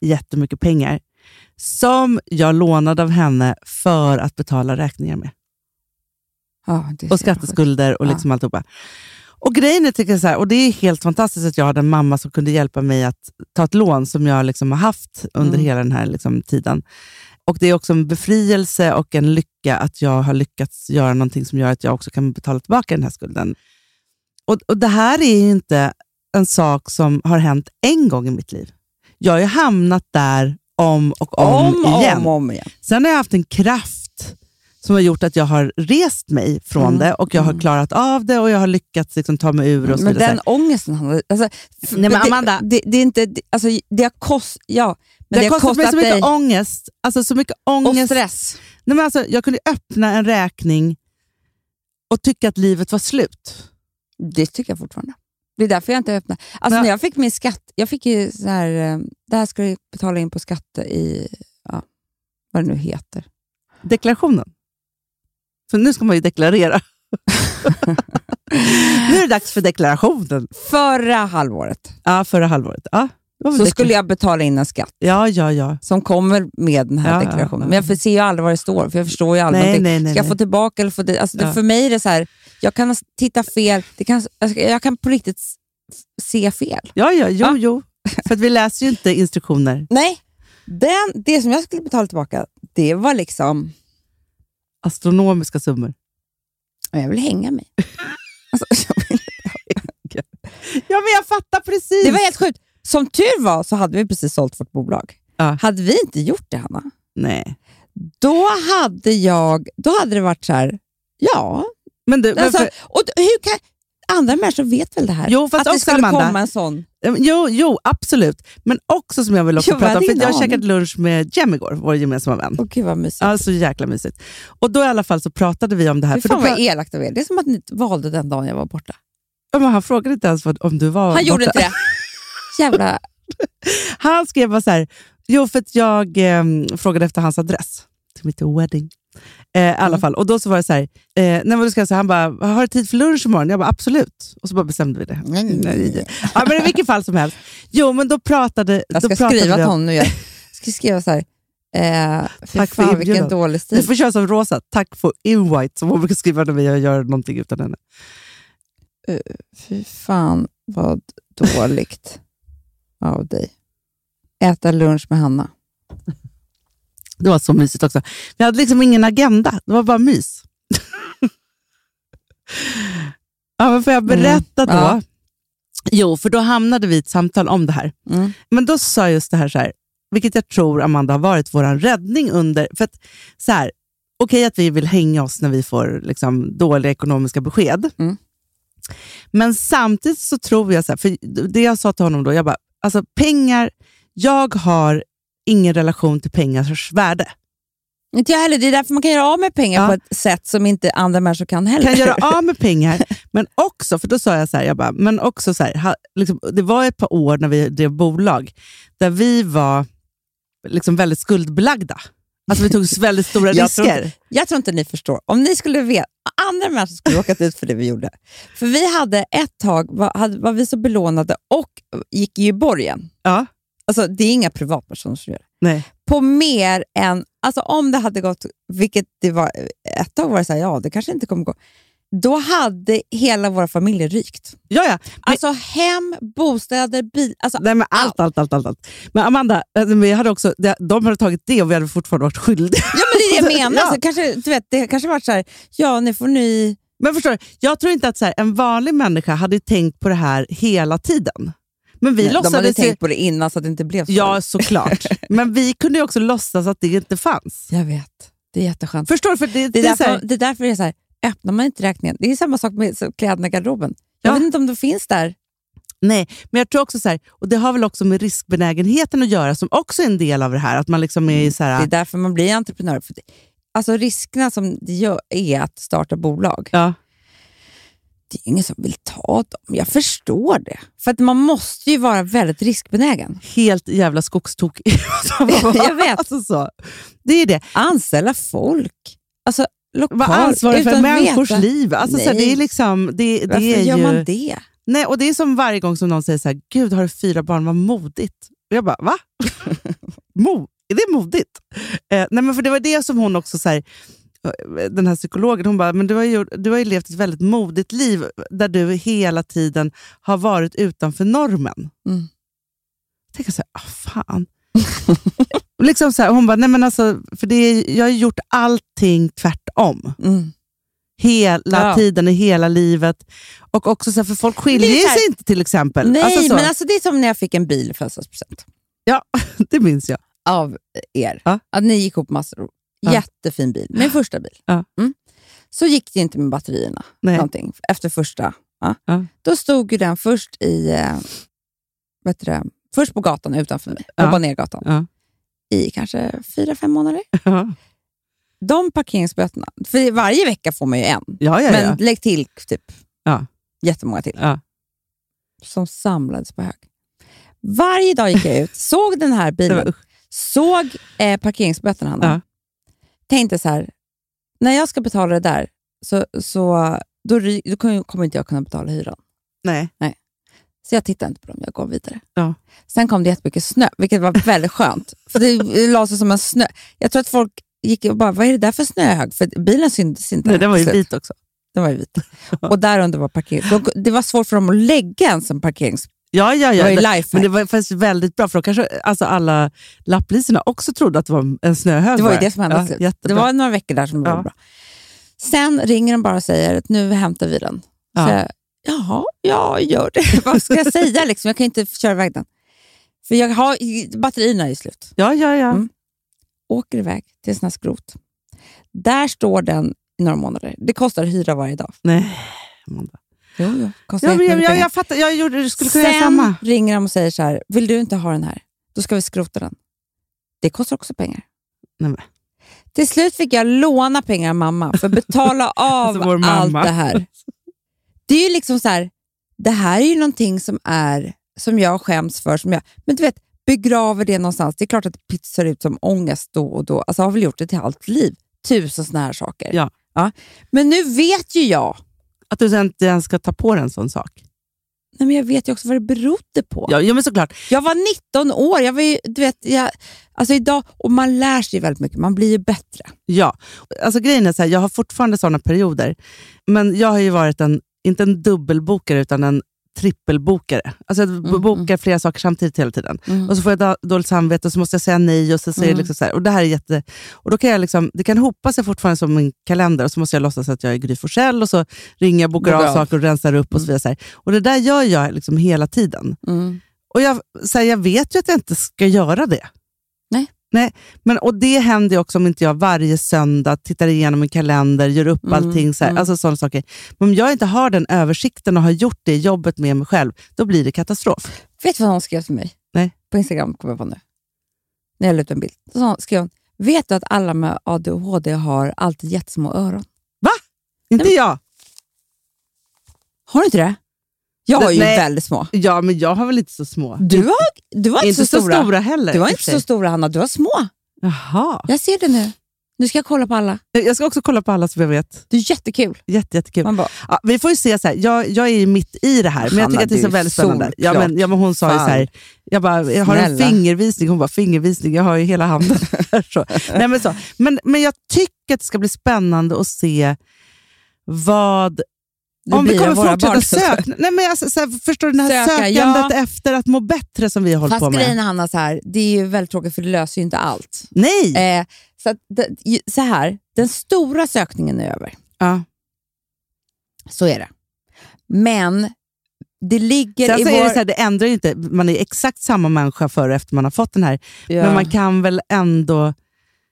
Speaker 5: jättemycket pengar som jag lånade av henne för att betala räkningar med.
Speaker 6: Ja, ah, det är så
Speaker 5: Och
Speaker 6: jävla sjukt.
Speaker 5: skatteskulder och liksom alltihopa. Och grejen är, tycker jag så här, och det är helt fantastiskt att jag hade en mamma som kunde hjälpa mig att ta ett lån som jag liksom har haft under
Speaker 6: Mm.
Speaker 5: hela den här liksom, tiden. Och Det är också en befrielse och en lycka att jag har lyckats göra någonting som gör att jag också kan betala tillbaka den här skulden. Och, och Det här är ju inte en sak som har hänt en gång i mitt liv. Jag har ju hamnat där om och om,
Speaker 6: Om och
Speaker 5: igen.
Speaker 6: om, om igen.
Speaker 5: Sen har jag haft en kraft som har gjort att jag har rest mig från
Speaker 6: Mm.
Speaker 5: det och jag har klarat av det och jag har lyckats liksom ta mig ur och så
Speaker 6: Men
Speaker 5: vidare.
Speaker 6: den ångesten, Hanna, alltså, f-
Speaker 5: Nej, men
Speaker 6: det-
Speaker 5: Amanda.
Speaker 6: Det, det, är inte, det, alltså, det har kost, ja, men
Speaker 5: det har kostat, mig så mycket
Speaker 6: dig
Speaker 5: ångest. Alltså så mycket ångest.
Speaker 6: och stress.
Speaker 5: Nej, men alltså, jag kunde öppna en räkning och tycka att livet var slut.
Speaker 6: Det tycker jag fortfarande. Det är därför jag inte öppnar. Alltså,
Speaker 5: Men-
Speaker 6: när jag fick min skatt, jag fick ju så här, eh, det här ska du betala in på skatt i, ja, vad det nu heter.
Speaker 5: Deklarationen. För nu ska man ju deklarera. [LAUGHS] nu är det dags för deklarationen.
Speaker 6: Förra halvåret
Speaker 5: Ja, förra halvåret. Ja, det var väl
Speaker 6: så
Speaker 5: dekla-
Speaker 6: skulle jag betala in en skatt
Speaker 5: ja, ja, ja.
Speaker 6: som kommer med den här
Speaker 5: Ja, ja,
Speaker 6: deklarationen.
Speaker 5: ja.
Speaker 6: Men jag får- ser ju aldrig vad det står, för jag förstår ju aldrig.
Speaker 5: Nej,
Speaker 6: någonting.
Speaker 5: nej, nej,
Speaker 6: ska jag
Speaker 5: nej.
Speaker 6: få tillbaka eller få det? Alltså, det
Speaker 5: Ja.
Speaker 6: För mig är det så här, jag kan s- titta fel. Det kan, jag ska- jag kan på riktigt s- se fel.
Speaker 5: Ja, ja, jo,
Speaker 6: Ja.
Speaker 5: jo. För att vi läser ju inte instruktioner.
Speaker 6: Nej, den, det som jag skulle betala tillbaka, det var liksom,
Speaker 5: astronomiska summor.
Speaker 6: jag vill
Speaker 5: [LAUGHS]
Speaker 6: hänga mig. Alltså, [LAUGHS] jag vill-
Speaker 5: Ja, men jag fattar precis.
Speaker 6: det var helt sjukt. Som tur var så hade vi precis sålt vårt bolag.
Speaker 5: Ja.
Speaker 6: Hade vi inte gjort det, Hanna,
Speaker 5: Nej.
Speaker 6: då hade, jag, då hade det varit så här, ja,
Speaker 5: Men du, men
Speaker 6: Alltså,
Speaker 5: för,
Speaker 6: och d- hur kan, andra människor vet väl det här?
Speaker 5: Jo, fast
Speaker 6: att det
Speaker 5: också,
Speaker 6: skulle
Speaker 5: Amanda-
Speaker 6: komma en sån.
Speaker 5: jo, jo, absolut. Men också som jag vill också
Speaker 6: Jag
Speaker 5: prata om,
Speaker 6: hade
Speaker 5: för
Speaker 6: ingen
Speaker 5: jag har
Speaker 6: aning.
Speaker 5: käkat lunch med Jem igår, vår gemensamma vän.
Speaker 6: Åh gud vad mysigt.
Speaker 5: Ja, så jäkla mysigt. Och då i alla fall så pratade vi om det här.
Speaker 6: Fy
Speaker 5: För
Speaker 6: fan
Speaker 5: då
Speaker 6: vad
Speaker 5: pra-
Speaker 6: elakt av er. Det är som att ni valde den dagen jag var borta.
Speaker 5: Ja, men han frågade inte ens vad, om du var
Speaker 6: Han gjorde
Speaker 5: borta.
Speaker 6: inte det.
Speaker 5: [LAUGHS]
Speaker 6: Jävla...
Speaker 5: Han skrev bara så här, jo för att jag eh, frågade efter hans adress till mitt wedding. Eh, I alla fall. Och då så var det så här, eh, nej, men då ska jag säga, han bara, har du tid för lunch imorgon? Jag bara, absolut. Och så bara bestämde vi det.
Speaker 6: Nej, nej, nej.
Speaker 5: Ja, men i vilket fall som helst. Jo, men då pratade
Speaker 6: Jag
Speaker 5: då
Speaker 6: ska
Speaker 5: pratade
Speaker 6: skriva
Speaker 5: vi
Speaker 6: till
Speaker 5: om-
Speaker 6: honom nu. Jag ska skriva så här. Eh, fy
Speaker 5: Tack för
Speaker 6: fan vilken
Speaker 5: inbjudan.
Speaker 6: dålig
Speaker 5: Du
Speaker 6: stil.
Speaker 5: får köra som Rosa, tack för invite, som hon brukar skriva när vi gör någonting utan henne.
Speaker 6: Fy fan vad dåligt av dig. Äta lunch med Hanna.
Speaker 5: Det var så mysigt också. Vi hade liksom ingen agenda, det var bara mys. ja, men får jag berätta då?
Speaker 6: Mm, ja.
Speaker 5: Jo, för då hamnade vi i ett samtal om det här.
Speaker 6: Mm.
Speaker 5: Men då sa jag just det här, så här, vilket jag tror Amanda har varit vår räddning under... För att, så här, Okej att vi vill hänga oss när vi får liksom, dåliga ekonomiska besked.
Speaker 6: Mm.
Speaker 5: Men samtidigt så tror jag, så här, för det jag sa till honom då, jag bara, alltså pengar, jag har ingen relation till pengars värde.
Speaker 6: Inte jag heller. Det är därför man kan göra av med pengar
Speaker 5: Ja.
Speaker 6: på ett sätt som inte andra människor kan heller. [LAUGHS]
Speaker 5: kan göra av med pengar, men också, för då sa jag så här, jag bara, men också så här, ha, liksom, det var ett par år när vi drev bolag där vi var liksom väldigt skuldbelagda. Alltså vi tog väldigt stora
Speaker 6: [LAUGHS] Jag tror
Speaker 5: risker.
Speaker 6: Jag tror inte ni förstår. Om ni skulle veta, andra människor skulle råkat ut för det vi gjorde. För vi hade ett tag, var, hade, var vi så belånade och gick ju i borgen.
Speaker 5: Ja,
Speaker 6: Alltså det är inga privatpersoner som gör det.
Speaker 5: nej.
Speaker 6: På mer än, alltså om det hade gått, vilket det var, ett tag var det såhär, ja det kanske inte kommer gå. Då hade hela våra familjer rykt.
Speaker 5: Ja, ja. Men,
Speaker 6: Alltså hem, bostäder, bil, alltså
Speaker 5: nej, men allt, allt, allt, allt, allt. Men Amanda, alltså, vi hade också, de- de hade tagit det och vi hade fortfarande varit skyldiga. [LAUGHS]
Speaker 6: Ja men det är det jag menar.
Speaker 5: Ja.
Speaker 6: Alltså, kanske, du vet, det kanske varit så här, ja nu får ni...
Speaker 5: Men förstår du, jag tror inte att så här, en vanlig människa hade tänkt på det här hela tiden. Men vi
Speaker 6: Nej, de hade
Speaker 5: låtsades ju-
Speaker 6: tänkt på det innan så att det inte blev så.
Speaker 5: Ja,
Speaker 6: [LAUGHS]
Speaker 5: såklart. Men vi kunde ju också låtsas att det inte fanns.
Speaker 6: Jag vet. Det är jätteskönt.
Speaker 5: Förstår du? För det,
Speaker 6: det, är
Speaker 5: det är så
Speaker 6: därför,
Speaker 5: här,
Speaker 6: det är därför det är så här, öppnar man inte räkningen. Det är samma sak med så- kläderna i garderoben. Jag
Speaker 5: Ja.
Speaker 6: vet inte om de finns där.
Speaker 5: Nej, men jag tror också så här, och det har väl också med riskbenägenheten att göra som också är en del av det här. Att man liksom är så
Speaker 6: Mm. Det är
Speaker 5: här,
Speaker 6: därför man blir entreprenör. För det, alltså riskerna som det gör är att starta bolag,
Speaker 5: ja,
Speaker 6: det är ingen som vill ta dem. Jag förstår det. För att man måste ju vara
Speaker 5: [LAUGHS]
Speaker 6: väldigt riskbenägen.
Speaker 5: helt jävla skogstokig.
Speaker 6: Jag
Speaker 5: [LAUGHS]
Speaker 6: vet.
Speaker 5: Alltså så. Det är det.
Speaker 6: Anställa folk. Alltså lokalt.
Speaker 5: Vara ansvarig för
Speaker 6: utan att
Speaker 5: människors
Speaker 6: veta.
Speaker 5: liv. Alltså så här, det
Speaker 6: Nej.
Speaker 5: är liksom, det, det
Speaker 6: Varför
Speaker 5: är
Speaker 6: gör
Speaker 5: ju,
Speaker 6: man det?
Speaker 5: Nej, och det är som varje gång som någon säger så här, gud har du fyra barn, vad modigt. Och jag bara, va? [LAUGHS] Mo, är det modigt? Eh, nej, men för det var det som hon också så här, den här psykologen, hon bara, men du har, ju, gjort- du har ju levt ett väldigt modigt liv där du hela tiden har varit utanför normen.
Speaker 6: Mm.
Speaker 5: Tänk så här, ah, fan. [LAUGHS] liksom så här, hon bara, nej men alltså, för det är, jag har ju gjort allting tvärtom.
Speaker 6: Mm.
Speaker 5: Hela
Speaker 6: Ja.
Speaker 5: tiden i hela livet. Och också så här, för folk skiljer
Speaker 6: så här-
Speaker 5: sig inte till exempel.
Speaker 6: Nej,
Speaker 5: Alltså så.
Speaker 6: men alltså det är som när jag fick en bil i födelsedagspresent.
Speaker 5: Det minns jag.
Speaker 6: av er.
Speaker 5: Ja.
Speaker 6: Att ni gick ihop massor.
Speaker 5: Ja.
Speaker 6: Jättefin bil. Min första bil.
Speaker 5: Ja.
Speaker 6: Mm. Så gick det inte med batterierna.
Speaker 5: Nej.
Speaker 6: Någonting, efter första. Ja.
Speaker 5: Ja.
Speaker 6: Då stod ju den först i... eh, Vad heter det? Först på gatan utanför mig.
Speaker 5: Ja.
Speaker 6: Ja. gatan.
Speaker 5: Ja.
Speaker 6: I kanske fyra, fem månader.
Speaker 5: Ja,
Speaker 6: De parkeringsböterna. För varje vecka får man ju en.
Speaker 5: [LAUGHS] ja, ja.
Speaker 6: Men lägg till typ
Speaker 5: Ja.
Speaker 6: jättemånga till.
Speaker 5: Ja.
Speaker 6: Som samlades på hög. Varje dag gick jag ut, såg den här
Speaker 5: Det
Speaker 6: bilen,
Speaker 5: var, usch.
Speaker 6: såg eh, parkeringsböterna, Hanna.
Speaker 5: Ja.
Speaker 6: Tänkte så här, när jag ska betala det där, så, så, då, ry- då kommer- kommer inte jag kunna betala hyran.
Speaker 5: nej.
Speaker 6: Så jag tittar inte på dem, jag går vidare.
Speaker 5: Ja.
Speaker 6: Sen kom det jättemycket snö, vilket var
Speaker 5: [LAUGHS]
Speaker 6: väldigt skönt. För det la sig som en snö. Jag tror att folk gick och bara, vad är det där för snöhög? För bilen syntes inte.
Speaker 5: nej, den var ju
Speaker 6: Slut.
Speaker 5: vit också.
Speaker 6: Den var
Speaker 5: [LAUGHS]
Speaker 6: ju vit. Och där under var parkering. De, det var svårt för dem att lägga ens en parkerings...
Speaker 5: Ja, ja,
Speaker 6: Det
Speaker 5: ja.
Speaker 6: var ju
Speaker 5: Men-
Speaker 6: lifehack.
Speaker 5: Men det var faktiskt väldigt bra, för då kanske alltså alla lapplisorna också trodde att det var en snöhög.
Speaker 6: Det var ju
Speaker 5: bara.
Speaker 6: det som hände till
Speaker 5: Alltså, ja,
Speaker 6: slut. Det
Speaker 5: jättebra.
Speaker 6: var några veckor där som det
Speaker 5: Ja.
Speaker 6: var bra. Sen ringer de bara och säger att nu hämtar vi den.
Speaker 5: Ja.
Speaker 6: Så jag, Jaha, ja, gör det. [LAUGHS] Vad ska jag säga? Liksom? Jag kan ju inte köra iväg den. För jag har, batterierna är ju slut.
Speaker 5: Ja, ja, ja.
Speaker 6: Mm. Åker iväg till en sån här skrot. Där står den i några månader. Det kostar hyra varje dag.
Speaker 5: Nej.
Speaker 6: Jo, jo, kostar
Speaker 5: Ja, men, jag, jag,
Speaker 6: jättemycket pengar.
Speaker 5: jag fattar, jag gjorde, jag skulle kunna
Speaker 6: Sen
Speaker 5: göra samma.
Speaker 6: ringer de och säger så här, vill du inte ha den här? Då ska vi skrota den. Det kostar också pengar.
Speaker 5: Nej, men.
Speaker 6: Till slut fick jag låna pengar av mamma för att betala
Speaker 5: [LAUGHS]
Speaker 6: av
Speaker 5: Alltså, vår
Speaker 6: allt
Speaker 5: mamma.
Speaker 6: det här. Det är ju liksom så här, det här är ju någonting som, är, som jag skäms för. Som jag, men du vet, begraver det någonstans. Det är klart att det pytsar ut som ångest då och då. Alltså, jag har väl gjort det till allt liv. Tusen såna här saker.
Speaker 5: Ja.
Speaker 6: Ja. Men nu vet ju jag.
Speaker 5: Att du sen inte ens ska ta på dig en sån sak.
Speaker 6: Nej, men jag vet ju också vad det berodde på.
Speaker 5: Ja, ja men såklart.
Speaker 6: Jag var 19 år. Jag var ju, du vet, jag, alltså idag, och man lär sig väldigt mycket. Man blir ju bättre.
Speaker 5: Ja. Alltså, grejen är så här, jag har fortfarande såna perioder, men jag har ju varit en, inte en dubbelbokare, utan en trippelbokare. Alltså jag b-
Speaker 6: mm.
Speaker 5: bokar flera saker samtidigt hela tiden.
Speaker 6: Mm.
Speaker 5: Och så får jag da- dåligt samvete och så måste jag säga nej. Och så säger
Speaker 6: Mm.
Speaker 5: liksom så här, och det här är jätte... Och då kan jag liksom, det kan hopa sig fortfarande som min kalender och så måste jag låtsas att jag är Gry Forssell och så ringer jag, bokar
Speaker 6: Bokar
Speaker 5: av
Speaker 6: av.
Speaker 5: saker och rensar upp
Speaker 6: Mm.
Speaker 5: och så vidare. Så här. Och det där gör jag liksom hela tiden. Och jag, så här, jag vet ju att jag inte ska göra det.
Speaker 6: Nej.
Speaker 5: Nej, men, och det händer ju också om inte jag varje söndag tittar igenom en kalender, gör upp
Speaker 6: Mm,
Speaker 5: allting. Så här,
Speaker 6: mm.
Speaker 5: alltså sådana saker. Men om jag inte har den översikten och har gjort det jobbet med mig själv, då blir det katastrof.
Speaker 6: Vet du vad hon skrev till mig?
Speaker 5: Nej.
Speaker 6: På Instagram kommer jag på nu. När jag la ut en bild. Så hon- skrev hon, vet du att alla med ADHD har alltid jättesmå öron?
Speaker 5: Inte jag.
Speaker 6: Har du inte det? Jag har ju
Speaker 5: Nej.
Speaker 6: väldigt små.
Speaker 5: Ja, men jag har väl inte så små.
Speaker 6: Du har, du har inte, så, stora.
Speaker 5: heller.
Speaker 6: Du har
Speaker 5: i och
Speaker 6: inte
Speaker 5: för
Speaker 6: så
Speaker 5: sig.
Speaker 6: stora Hanna, du har små.
Speaker 5: Jaha.
Speaker 6: Jag ser det nu. Nu ska jag kolla på alla.
Speaker 5: Jag ska också kolla på alla som jag vet.
Speaker 6: Det är jättekul.
Speaker 5: Jätte, jättekul.
Speaker 6: Man bara,
Speaker 5: Ja, vi får ju se, så här. Jag, jag är ju mitt i det här, men jag
Speaker 6: Hanna,
Speaker 5: tycker att det är
Speaker 6: du
Speaker 5: så
Speaker 6: är
Speaker 5: väldigt spännande. Ja,
Speaker 6: solklar.
Speaker 5: men, ja, men hon sa ju så
Speaker 6: Fan.
Speaker 5: här, jag, bara, jag har en
Speaker 6: Snälla.
Speaker 5: fingervisning, hon bara fingervisning, jag har ju hela handen. [LAUGHS] så. Nej, men, så. Men, men jag tycker att det ska bli spännande att se vad
Speaker 6: det
Speaker 5: om vi
Speaker 6: blir
Speaker 5: kommer
Speaker 6: av våra
Speaker 5: fortsätta
Speaker 6: barn.
Speaker 5: söka. Nej, men alltså, så här, förstår du, det här
Speaker 6: Söka,
Speaker 5: sökandet
Speaker 6: ja.
Speaker 5: efter att må bättre som vi har hållit på
Speaker 6: Fast
Speaker 5: med.
Speaker 6: grejen är, Hanna, så här, det är ju väldigt tråkigt för det löser ju inte allt.
Speaker 5: Nej!
Speaker 6: Eh, så, att, det- ju- så här, den stora sökningen är över.
Speaker 5: Ja.
Speaker 6: Så är det. Men det ligger
Speaker 5: Sen
Speaker 6: i
Speaker 5: så
Speaker 6: vår...
Speaker 5: är det, så här, det ändrar ju inte, man är exakt samma människa före och efter man har fått den här.
Speaker 6: Ja.
Speaker 5: Men man kan väl ändå...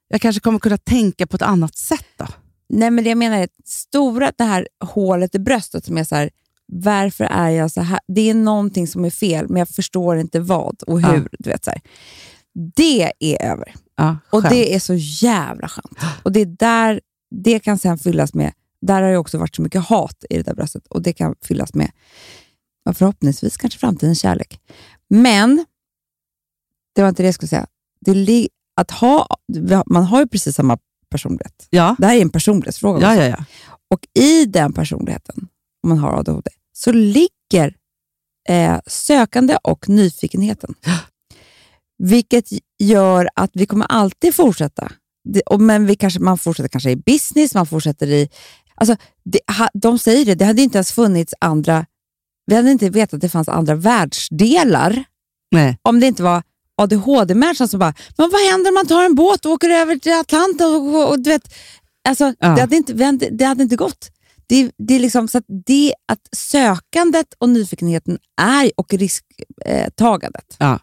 Speaker 5: Jag kanske kommer kunna tänka på ett annat sätt då.
Speaker 6: Nej, men det jag menar är att stora, det här hålet i bröstet som är så här, varför är jag så här? Det är någonting som är fel, men jag förstår inte vad och
Speaker 5: Ja.
Speaker 6: hur. Du vet, så här. Det är över
Speaker 5: Ja,
Speaker 6: och
Speaker 5: skönt.
Speaker 6: det är så jävla skönt. Och det, är där, det kan sen fyllas med, där har det också varit så mycket hat i det där bröstet och det kan fyllas med ja, förhoppningsvis kanske framtidens kärlek. Men, det var inte det jag skulle säga. Det, li- att ha, man har ju precis samma personlighet.
Speaker 5: ja.
Speaker 6: Det här är en personlighetsfråga.
Speaker 5: ja, ja, ja.
Speaker 6: Och i den personligheten, om man har ADHD, så ligger eh, sökande och [GASPS] nyfikenheten. Vilket gör att vi kommer alltid fortsätta det, och, men vi kanske, man fortsätter kanske i business, man fortsätter i... Alltså, det, ha, de säger det, det hade inte ens funnits andra... Vi hade inte vetat att det fanns andra världsdelar
Speaker 5: Nej.
Speaker 6: om det inte var ADHD-människan som bara, men vad händer om man tar en båt och åker över till Atlanten? Och, och, och, du vet, alltså,
Speaker 5: Ja.
Speaker 6: det, hade inte, vi hade- det hade inte gått. Det, det är liksom så att, det, att sökandet och nyfikenheten är, och risktagandet,
Speaker 5: Ja.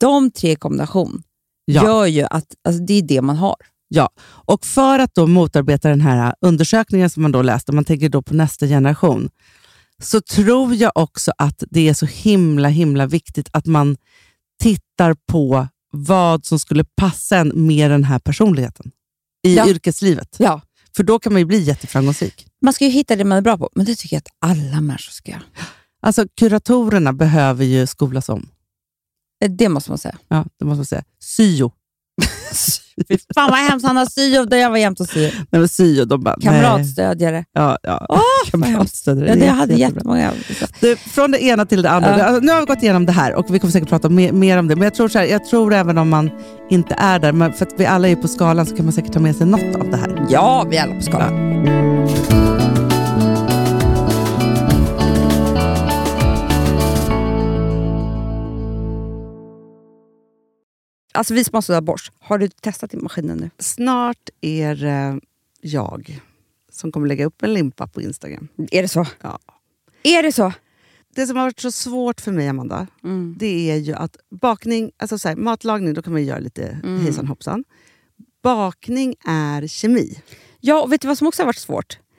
Speaker 6: de tre i kombination
Speaker 5: Ja.
Speaker 6: gör ju att alltså, det är det man har.
Speaker 5: Ja, och för att då motarbeta den här undersökningen som man då läste, man tänker då på nästa generation, så tror jag också att det är så himla himla viktigt att man tittar på vad som skulle passa en med den här personligheten i
Speaker 6: Ja.
Speaker 5: yrkeslivet.
Speaker 6: Ja.
Speaker 5: För då kan man ju bli jätteframgångsrik.
Speaker 6: Man ska ju hitta det man är bra på, men det tycker jag att alla människor ska göra.
Speaker 5: Alltså kuratorerna behöver ju skolas om.
Speaker 6: Eh, Det måste man säga.
Speaker 5: Ja, det måste man säga. [LAUGHS] Syo.
Speaker 6: Fan vad hemskt, Hanna, syo, där jag var jämt och syo.
Speaker 5: Nej, men syo, de bara... Nej.
Speaker 6: Kamratstödjare.
Speaker 5: Ja, ja. [LAUGHS]
Speaker 6: Åh, vad hemskt.
Speaker 5: Kamratstödjare.
Speaker 6: Ja, det
Speaker 5: jätte-
Speaker 6: hade
Speaker 5: jättebra.
Speaker 6: jättemånga.
Speaker 5: Du, från det ena till det andra.
Speaker 6: Ja.
Speaker 5: Alltså, nu har vi gått igenom det här och vi kommer säkert prata mer, mer om det. Men jag tror, så här, jag tror även om man inte är där, men för att vi alla är på skalan så kan man säkert ta med sig något av det här.
Speaker 6: Ja, vi är alla på skalan. Alltså vi som har sådär borst, har du testat i maskinen nu?
Speaker 5: Snart är eh, jag som kommer lägga upp en limpa på Instagram.
Speaker 6: Är det så?
Speaker 5: Ja.
Speaker 6: Är det så?
Speaker 5: Det som har varit så svårt för mig, Amanda,
Speaker 6: Mm.
Speaker 5: det är ju att bakning, alltså så här, matlagning, då kan man ju göra lite
Speaker 6: Mm.
Speaker 5: hejsan hoppsan. Bakning är kemi.
Speaker 6: Ja, och vet du vad som också har varit svårt?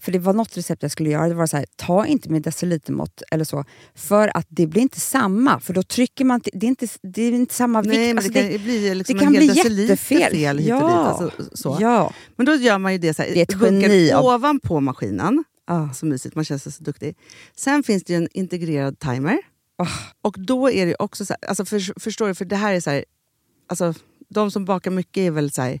Speaker 6: För det var något recept jag skulle göra. Det var så här, ta inte med decilitermått eller så. För att det blir inte samma. För då trycker man... till- Det är inte, det är inte samma
Speaker 5: Nej, men
Speaker 6: vikt. Alltså,
Speaker 5: det kan ju bli liksom
Speaker 6: det kan
Speaker 5: en
Speaker 6: bli
Speaker 5: hel deciliter
Speaker 6: jättefel.
Speaker 5: fel hit och dit.
Speaker 6: Ja.
Speaker 5: Alltså, så.
Speaker 6: Ja.
Speaker 5: Men då gör man ju det så här,
Speaker 6: Det är ett
Speaker 5: bunkar
Speaker 6: geni av-
Speaker 5: ovanpå maskinen.
Speaker 6: Ah.
Speaker 5: Så mysigt, man känns så duktig. Sen finns det ju en integrerad timer.
Speaker 6: Ah.
Speaker 5: Och då är det ju också så här, alltså för, förstår du, för det här är så här, alltså de som bakar mycket är väl så här,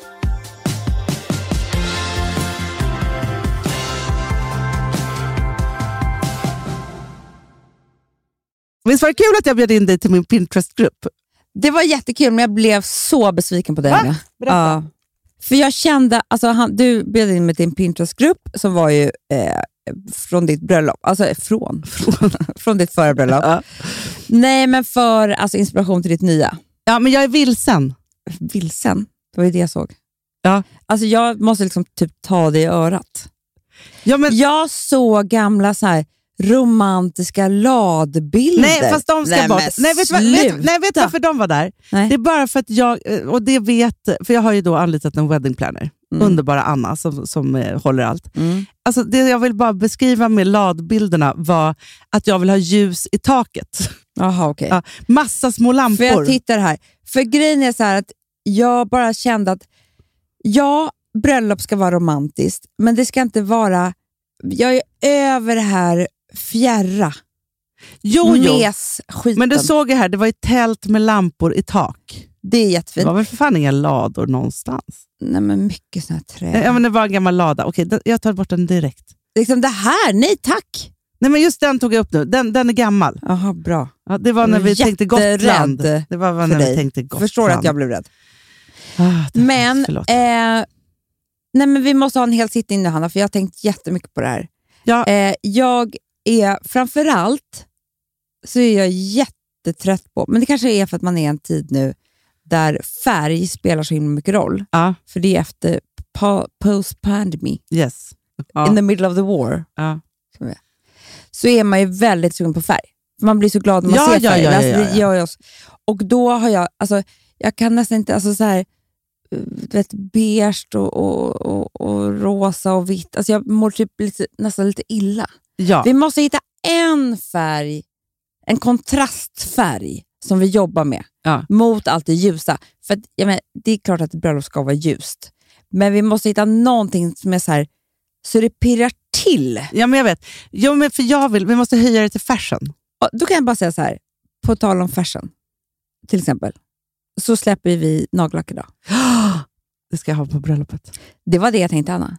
Speaker 5: Visst var det kul att jag bjöd in dig till min Pinterest-grupp?
Speaker 6: Det var jättekul, men jag blev så besviken på dig. Va? Ja. För jag kände, alltså han, du bjöd in mig till en Pinterest-grupp som var ju eh, från ditt bröllop. Alltså eh, från? [LAUGHS] Från, från ditt förra bröllop.
Speaker 5: Ja.
Speaker 6: Nej, men för alltså, inspiration till ditt nya.
Speaker 5: Ja, men jag är vilsen.
Speaker 6: Vilsen, det var ju det jag såg.
Speaker 5: Ja.
Speaker 6: Alltså jag måste liksom typ ta det i örat.
Speaker 5: Ja, men,
Speaker 6: Jag såg gamla så här romantiska ladbilder.
Speaker 5: nej, fast de ska
Speaker 6: nej,
Speaker 5: bort.
Speaker 6: men
Speaker 5: Nej, vet du vad- vet,
Speaker 6: sluta.
Speaker 5: nej, vet du varför de var där?
Speaker 6: Nej.
Speaker 5: Det är bara för att jag, eh, och det vet, för jag har ju då anlitat en wedding planner.
Speaker 6: Mm.
Speaker 5: Underbara Anna som, som eh, håller allt.
Speaker 6: Mm.
Speaker 5: Alltså, det jag vill bara beskriva med ladbilderna var att jag vill ha ljus i taket. [LAUGHS]
Speaker 6: Jaha, okej.
Speaker 5: Ja, massa små
Speaker 6: För jag
Speaker 5: lampor.
Speaker 6: tittar här. För grejen är så här att jag bara kände att ja, bröllop ska vara romantiskt, men det ska inte vara... Jag är över det här fjärra
Speaker 5: Jo, jo.
Speaker 6: mes-skiten.
Speaker 5: Mm. Men du såg ju här, det var ju tält med lampor i tak.
Speaker 6: Det är
Speaker 5: Det
Speaker 6: jättefint.
Speaker 5: var väl för fan inga lador någonstans?
Speaker 6: Nej, men mycket såna här träd.
Speaker 5: Nej, men det var en gammal lada. Okej, den- jag tar bort den direkt.
Speaker 6: Liksom det här, nej tack!
Speaker 5: Nej, men just den tog jag upp nu. Den, den är gammal.
Speaker 6: Jaha, bra.
Speaker 5: Ja, det var när
Speaker 6: Jag är
Speaker 5: vi tänkte
Speaker 6: jätterädd
Speaker 5: Gotland. Det var
Speaker 6: för
Speaker 5: när vi
Speaker 6: dig.
Speaker 5: tänkte Gotland.
Speaker 6: Förstår att jag blev rädd.
Speaker 5: Ah, det-
Speaker 6: Men,
Speaker 5: förlåt.
Speaker 6: eh, nej, men vi måste ha en hel sittning nu Hanna, för jag har tänkt jättemycket på det här.
Speaker 5: Ja.
Speaker 6: Eh, jag är framförallt så är jag jättetrött på, men det kanske är för att man är i en tid nu där färg spelar så himla mycket roll.
Speaker 5: Ja,
Speaker 6: För det är efter pa- post pandemic,
Speaker 5: yes. Ja.
Speaker 6: in the middle of the war,
Speaker 5: Ja.
Speaker 6: så är man ju väldigt sugen på färg. Man blir så glad när man
Speaker 5: Ja,
Speaker 6: ser
Speaker 5: ja,
Speaker 6: färg.
Speaker 5: ja, ja,
Speaker 6: alltså,
Speaker 5: ja, ja.
Speaker 6: det gör jag också. Och då har jag, alltså, jag kan nästan inte, alltså så här, eh, du vet, beige och, och, och, och rosa och vitt. Alltså jag mår typ lite, nästan lite illa.
Speaker 5: Ja.
Speaker 6: Vi måste hitta en färg, en kontrastfärg som vi jobbar med
Speaker 5: Ja.
Speaker 6: mot allt det ljusa. För att, jag menar, det är klart att ett bröllop ska vara ljust, men vi måste hitta någonting som är så här, så det pirrar till.
Speaker 5: ja, men jag vet. Jo, men för jag vill, vi måste höja det till fashion.
Speaker 6: Och då kan jag bara säga så här, på tal om fashion, till exempel, så släpper vi nagellack idag.
Speaker 5: Det ska jag ha på bröllopet.
Speaker 6: Det var det jag tänkte, Anna.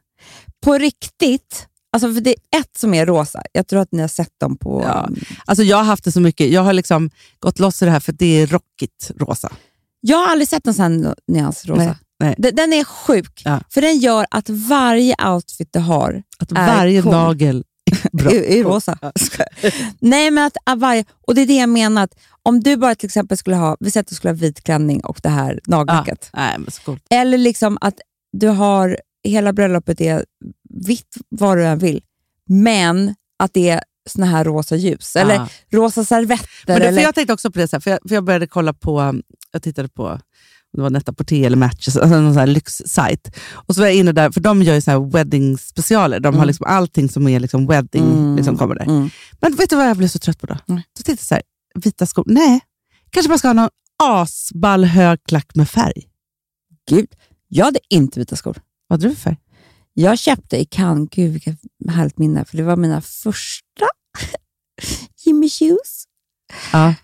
Speaker 6: På riktigt, alltså för det är ett som är rosa. Jag tror att ni har sett dem på...
Speaker 5: Ja. Alltså, jag har haft det så mycket. Jag har liksom gått loss i det här för det är rockigt rosa.
Speaker 6: Jag har aldrig sett någon sån här nyans rosa.
Speaker 5: Nej, nej.
Speaker 6: Den, den är sjuk,
Speaker 5: Ja.
Speaker 6: för den gör att varje outfit du har
Speaker 5: Att
Speaker 6: Är
Speaker 5: varje
Speaker 6: cool.
Speaker 5: nagel är Bra.
Speaker 6: Ur, ur rosa. [LAUGHS] Nej, men att av varje, och det är det jag menar, att om du bara till exempel skulle ha, vi säger att du skulle ha vit klänning och det här nagellacket.
Speaker 5: Nej, men skål.
Speaker 6: Eller liksom att du har, hela bröllopet är vitt vad du än vill, men att det är såna här rosa ljus, eller
Speaker 5: Ja.
Speaker 6: rosa servetter.
Speaker 5: Men det, för
Speaker 6: eller,
Speaker 5: jag tänkte också på det, så här, för, jag, för jag började kolla på, um, jag tittade på om det var Net-a-Porter eller Matches, alltså någon sån här lyxsajt. Och så var jag inne där, för de gör ju så här wedding-specialer. De har liksom allting som är liksom wedding, liksom kommer där.
Speaker 6: Mm.
Speaker 5: Men vet du vad jag blev så trött på då? Då tittade jag så här, vita skor, nej. Kanske man ska ha någon asball hög klack med färg.
Speaker 6: Gud, jag hade inte vita skor.
Speaker 5: Vad hade du för färg?
Speaker 6: Jag köpte i Cannes, gud vilket härligt minne, för det var mina första [LAUGHS] Jimmy Choo's.
Speaker 5: Ja.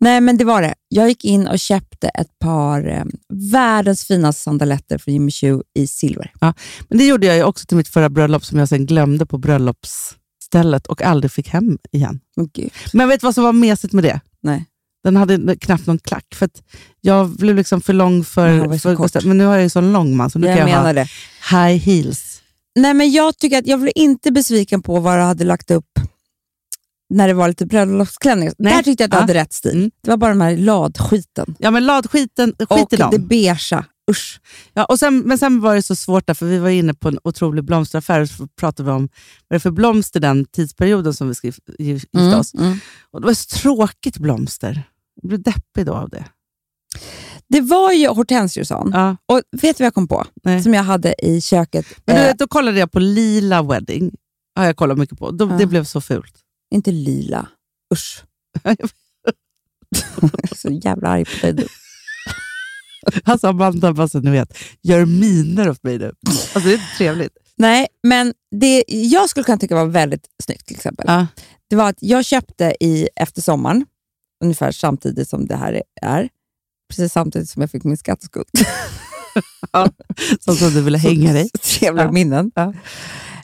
Speaker 6: Nej, men det var det. Jag gick in och köpte ett par eh, världens finaste sandaletter från Jimmy Choo i silver.
Speaker 5: Men det gjorde jag ju också till mitt förra bröllop som jag sen glömde på bröllopsstället och aldrig fick hem igen.
Speaker 6: Men gud.
Speaker 5: Men vet du vad som var mesigt med det?
Speaker 6: Nej.
Speaker 5: Den hade knappt någon klack, för att jag blev liksom för lång
Speaker 6: Men han Mm, var
Speaker 5: för,
Speaker 6: ju så
Speaker 5: för
Speaker 6: kort.
Speaker 5: Gustav. Men nu har jag ju så lång man, så nu
Speaker 6: Jag,
Speaker 5: kan jag
Speaker 6: menar
Speaker 5: ha
Speaker 6: det.
Speaker 5: high heels.
Speaker 6: Nej, men jag tycker att jag blev inte besviken på vad du hade lagt upp när det var lite bröllopsklänningar.
Speaker 5: Nej.
Speaker 6: Där tyckte jag att du
Speaker 5: Ja.
Speaker 6: hade rätt stil.
Speaker 5: Mm.
Speaker 6: Det var bara den här ladskiten.
Speaker 5: Ja, men ladskiten, skit
Speaker 6: Och
Speaker 5: i dem. Mm.
Speaker 6: det beigea. Usch.
Speaker 5: Ja, och sen, men sen var det så svårt, där, för vi var inne på en otrolig blomsteraffär och så pratade vi om vad det är för blomster den tidsperioden som vi ska gif- gif- gifta
Speaker 6: Mm,
Speaker 5: oss.
Speaker 6: mm.
Speaker 5: Och det var så tråkigt blomster. Jag blev deppig då av
Speaker 6: Mm.
Speaker 5: det.
Speaker 6: Det var ju hortensior, sa hon.
Speaker 5: Ja.
Speaker 6: Och vet du vad jag kom på?
Speaker 5: Nej.
Speaker 6: Som jag hade i köket.
Speaker 5: Men du
Speaker 6: eh,
Speaker 5: vet, då kollade jag på lila wedding. har jag kollat mycket på. Då,
Speaker 6: Ja.
Speaker 5: Det blev så fult.
Speaker 6: Inte lila. Usch. [LAUGHS] Så jävla arg på dig. du.
Speaker 5: Alltså Amanda, bara så ni vet, gör miner åt mig nu. Alltså det är inte trevligt.
Speaker 6: Nej, men det jag skulle kunna tycka var väldigt snyggt till exempel.
Speaker 5: Ja.
Speaker 6: Det var att jag köpte i efter sommaren, ungefär samtidigt som det här är. Precis samtidigt som jag fick min skatteskuld.
Speaker 5: Som, som du ville hänga dig.
Speaker 6: Så Trevliga
Speaker 5: Ja.
Speaker 6: minnen.
Speaker 5: Ja.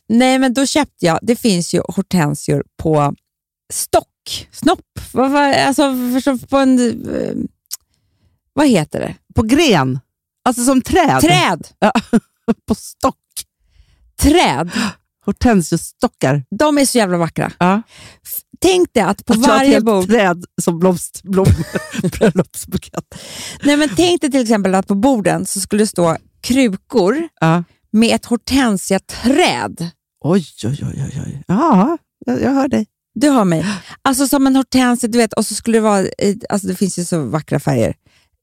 Speaker 6: Nej, men då köpte jag, det finns ju hortensior på stock, snopp, vad, vad, alltså förstå- på en, eh, vad heter det?
Speaker 5: På gren. Alltså som träd.
Speaker 6: Träd!
Speaker 5: På stock.
Speaker 6: Träd!
Speaker 5: Hortensiostockar.
Speaker 6: De är så jävla vackra.
Speaker 5: Ja.
Speaker 6: Tänk dig att på
Speaker 5: Att Alltså, jag har ett
Speaker 6: varje
Speaker 5: helt
Speaker 6: bok,
Speaker 5: träd som blomsterblom. [LAUGHS] Bröllopsbukett.
Speaker 6: nej men tänk dig till exempel att på borden så skulle det stå krukor
Speaker 5: Ja.
Speaker 6: med ett hortensiaträd.
Speaker 5: Oj, oj, oj, oj, oj. Ja, jag, jag hör dig.
Speaker 6: Du hör mig. Alltså som en hortensia, du vet, och så skulle det vara, eh, alltså det finns ju så vackra färger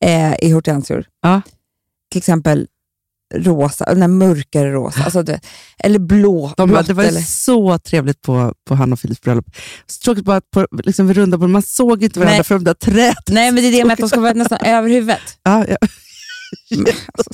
Speaker 6: eh, i hortensior.
Speaker 5: Ja.
Speaker 6: Till exempel rosa, den här mörkare rosa, alltså du vet, eller blå,
Speaker 5: De,
Speaker 6: blått,
Speaker 5: det var ju
Speaker 6: eller,
Speaker 5: så trevligt på, på Hanna och Filips bröllop. Så tråkigt bara att på, liksom, vid runda på man såg inte varandra
Speaker 6: Nej.
Speaker 5: för de där träden.
Speaker 6: Nej, men det är det med att de ska
Speaker 5: [LAUGHS]
Speaker 6: vara nästan över huvudet.
Speaker 5: Ja, ja,
Speaker 6: Alltså,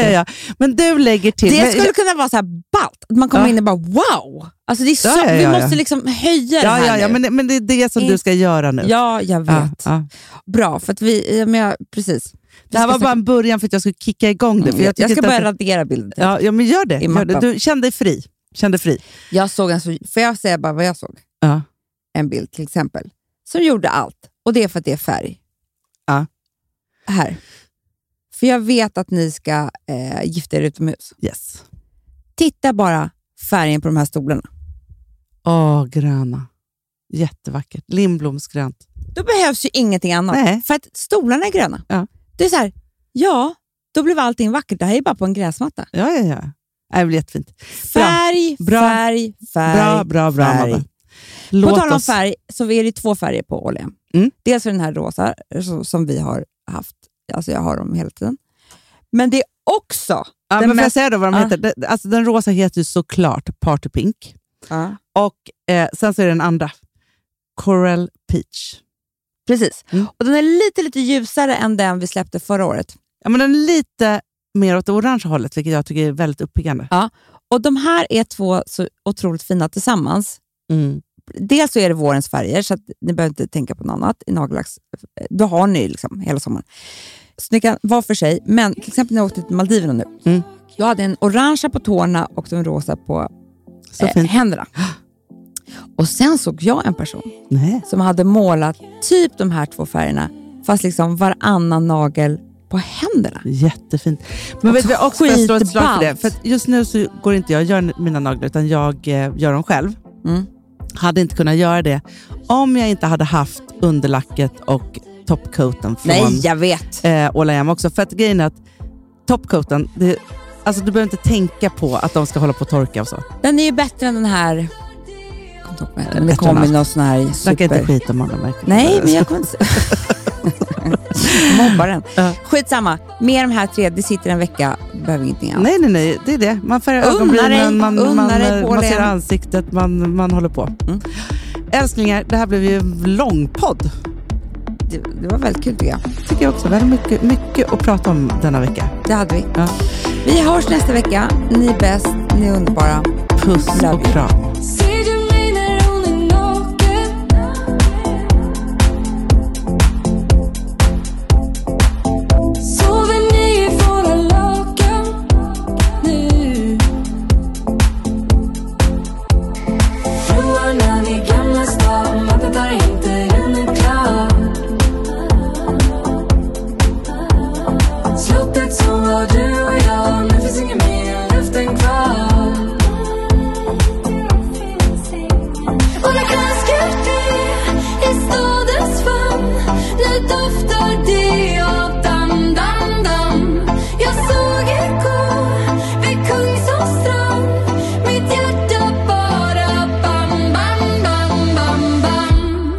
Speaker 5: ja, ja,
Speaker 6: du.
Speaker 5: ja. Men du lägger till.
Speaker 6: Det
Speaker 5: men-
Speaker 6: skulle kunna vara så här ballt, att man kommer
Speaker 5: Ja.
Speaker 6: in och bara wow! Alltså det är så,
Speaker 5: Ja, ja, ja,
Speaker 6: vi
Speaker 5: ja.
Speaker 6: måste liksom höja det
Speaker 5: ja,
Speaker 6: här
Speaker 5: ja, ja,
Speaker 6: nu.
Speaker 5: men, men det är det som
Speaker 6: In-
Speaker 5: du ska göra nu.
Speaker 6: ja, jag vet.
Speaker 5: Ja, ja.
Speaker 6: Bra, för att vi, ja, men jag, precis.
Speaker 5: Det här
Speaker 6: Vi
Speaker 5: var
Speaker 6: ska
Speaker 5: bara en början för att jag skulle kicka igång det.
Speaker 6: snacka-
Speaker 5: För
Speaker 6: jag,
Speaker 5: jag, tycker
Speaker 6: ska
Speaker 5: inte
Speaker 6: börja
Speaker 5: att det-
Speaker 6: radera bilden.
Speaker 5: Ja, ja, men gör det.
Speaker 6: i
Speaker 5: Gör det.
Speaker 6: mappen.
Speaker 5: Du kände dig fri. Kände fri.
Speaker 6: Jag såg en så, får jag säga bara vad jag såg?
Speaker 5: Ja.
Speaker 6: En bild till exempel, som gjorde allt. Och det är för att det är färg.
Speaker 5: Ja.
Speaker 6: Här. För jag vet att ni ska eh, gifta er utomhus.
Speaker 5: Yes.
Speaker 6: Titta bara färgen på de här stolarna.
Speaker 5: Åh, gröna. Jättevackert. Lindblomsgrönt.
Speaker 6: Då behövs ju ingenting annat.
Speaker 5: Nej.
Speaker 6: För att stolarna är gröna.
Speaker 5: Ja.
Speaker 6: Det är så här, ja, då blev allting vackert. Det här är bara på en gräsmatta.
Speaker 5: Ja, ja, ja. Nej, Det blir jättefint.
Speaker 6: Färg,
Speaker 5: Bra.
Speaker 6: färg, färg.
Speaker 5: Bra, bra, bra.
Speaker 6: färg.
Speaker 5: Amanda.
Speaker 6: på tal
Speaker 5: Låt
Speaker 6: om
Speaker 5: oss...
Speaker 6: färg så är det två färger på Åhlén.
Speaker 5: Mm.
Speaker 6: Dels är den här rosa så, som vi har haft, alltså jag har dem hela tiden. Men det är också
Speaker 5: Ja,
Speaker 6: den
Speaker 5: men får jag
Speaker 6: mest-
Speaker 5: säga då vad de
Speaker 6: Ja.
Speaker 5: heter? Det- Alltså, den rosa heter ju såklart Party Pink. Och eh, sen så är det den andra. Coral Peach.
Speaker 6: Precis.
Speaker 5: Mm.
Speaker 6: Och den är lite, lite ljusare än den vi släppte förra året.
Speaker 5: Ja, men den är lite mer åt det orange hållet, vilket jag tycker är väldigt uppiggande.
Speaker 6: Och de här är två så otroligt fina tillsammans.
Speaker 5: Mm.
Speaker 6: Dels så är det vårens färger, så att ni behöver inte tänka på något annat i nagellax. Då har ni liksom hela sommaren. Så ni kan vara för sig. Men till exempel när jag åkte till Maldiverna nu.
Speaker 5: Mm.
Speaker 6: Jag hade en orangea på tårna och den rosa på
Speaker 5: Så
Speaker 6: eh,
Speaker 5: fint.
Speaker 6: händerna. Och sen såg jag en person
Speaker 5: Nej.
Speaker 6: som hade målat typ de här två färgerna, fast liksom varannan nagel på händerna.
Speaker 5: Jättefint. Men vet
Speaker 6: så
Speaker 5: du, jag också får jag slå ett slag för det.
Speaker 6: skitballt.
Speaker 5: För att just nu så går inte jag och gör mina naglar, utan jag eh, gör dem själv.
Speaker 6: Mm.
Speaker 5: Hade inte kunnat göra det om jag inte hade haft underlacket och toppcoaten från
Speaker 6: Nej, jag vet.
Speaker 5: eh, Ola Jäm också. För att grejen är att toppcoaten, det, alltså du behöver inte tänka på att de ska hålla på och torka och så.
Speaker 6: Den är ju bättre än den här... Jag kommer inte ihåg vad den heter, men Det
Speaker 5: Bättre än
Speaker 6: kom ju
Speaker 5: allt.
Speaker 6: någon sån här
Speaker 5: Snacka inte
Speaker 6: super...
Speaker 5: skit om honom verkligen.
Speaker 6: Nej, men jag kommer inte... [LAUGHS] Mobbar den.
Speaker 5: Ja.
Speaker 6: Skitsamma. Med de här tre, det sitter en vecka, behöver ingenting annat.
Speaker 5: Nej, nej, nej. Det är det. Man färgar
Speaker 6: Unna dig,
Speaker 5: ögonbrynen, man, man,
Speaker 6: unna dig
Speaker 5: eh,
Speaker 6: på
Speaker 5: man
Speaker 6: det.
Speaker 5: ser ansiktet, man, man håller på.
Speaker 6: Mm.
Speaker 5: Älsklingar, det här blev ju en lång podd.
Speaker 6: Det, det var väldigt kul tycker jag.
Speaker 5: Tycker jag också. Vi hade mycket, mycket att prata om denna vecka.
Speaker 6: Det hade vi.
Speaker 5: Ja.
Speaker 6: Vi hörs nästa vecka. Ni är bäst, ni är underbara.
Speaker 5: Puss
Speaker 6: Love
Speaker 5: och
Speaker 6: you.
Speaker 5: kram.
Speaker 2: Ser du mig när hon är naken? Sover ni i våra lakan nu? Broarna vid Gamla stan, mappen tar inte runnen klar Slottet som var du och jag, nu finns inget mer luften kvar Ola kallas QP i stadens famn Nu doftar det av damm, damm, damm Jag såg igår vid Kungsholms strand Mitt hjärta bara bam, bam, bam, bam, bam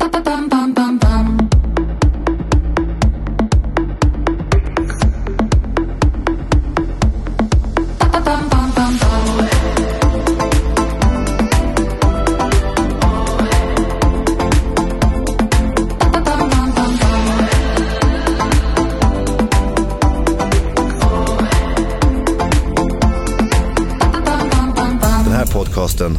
Speaker 2: Ba, ba, Bam, bam, bam, bam Ba, ba, Bam, bam, bam, bam
Speaker 7: Den här podcasten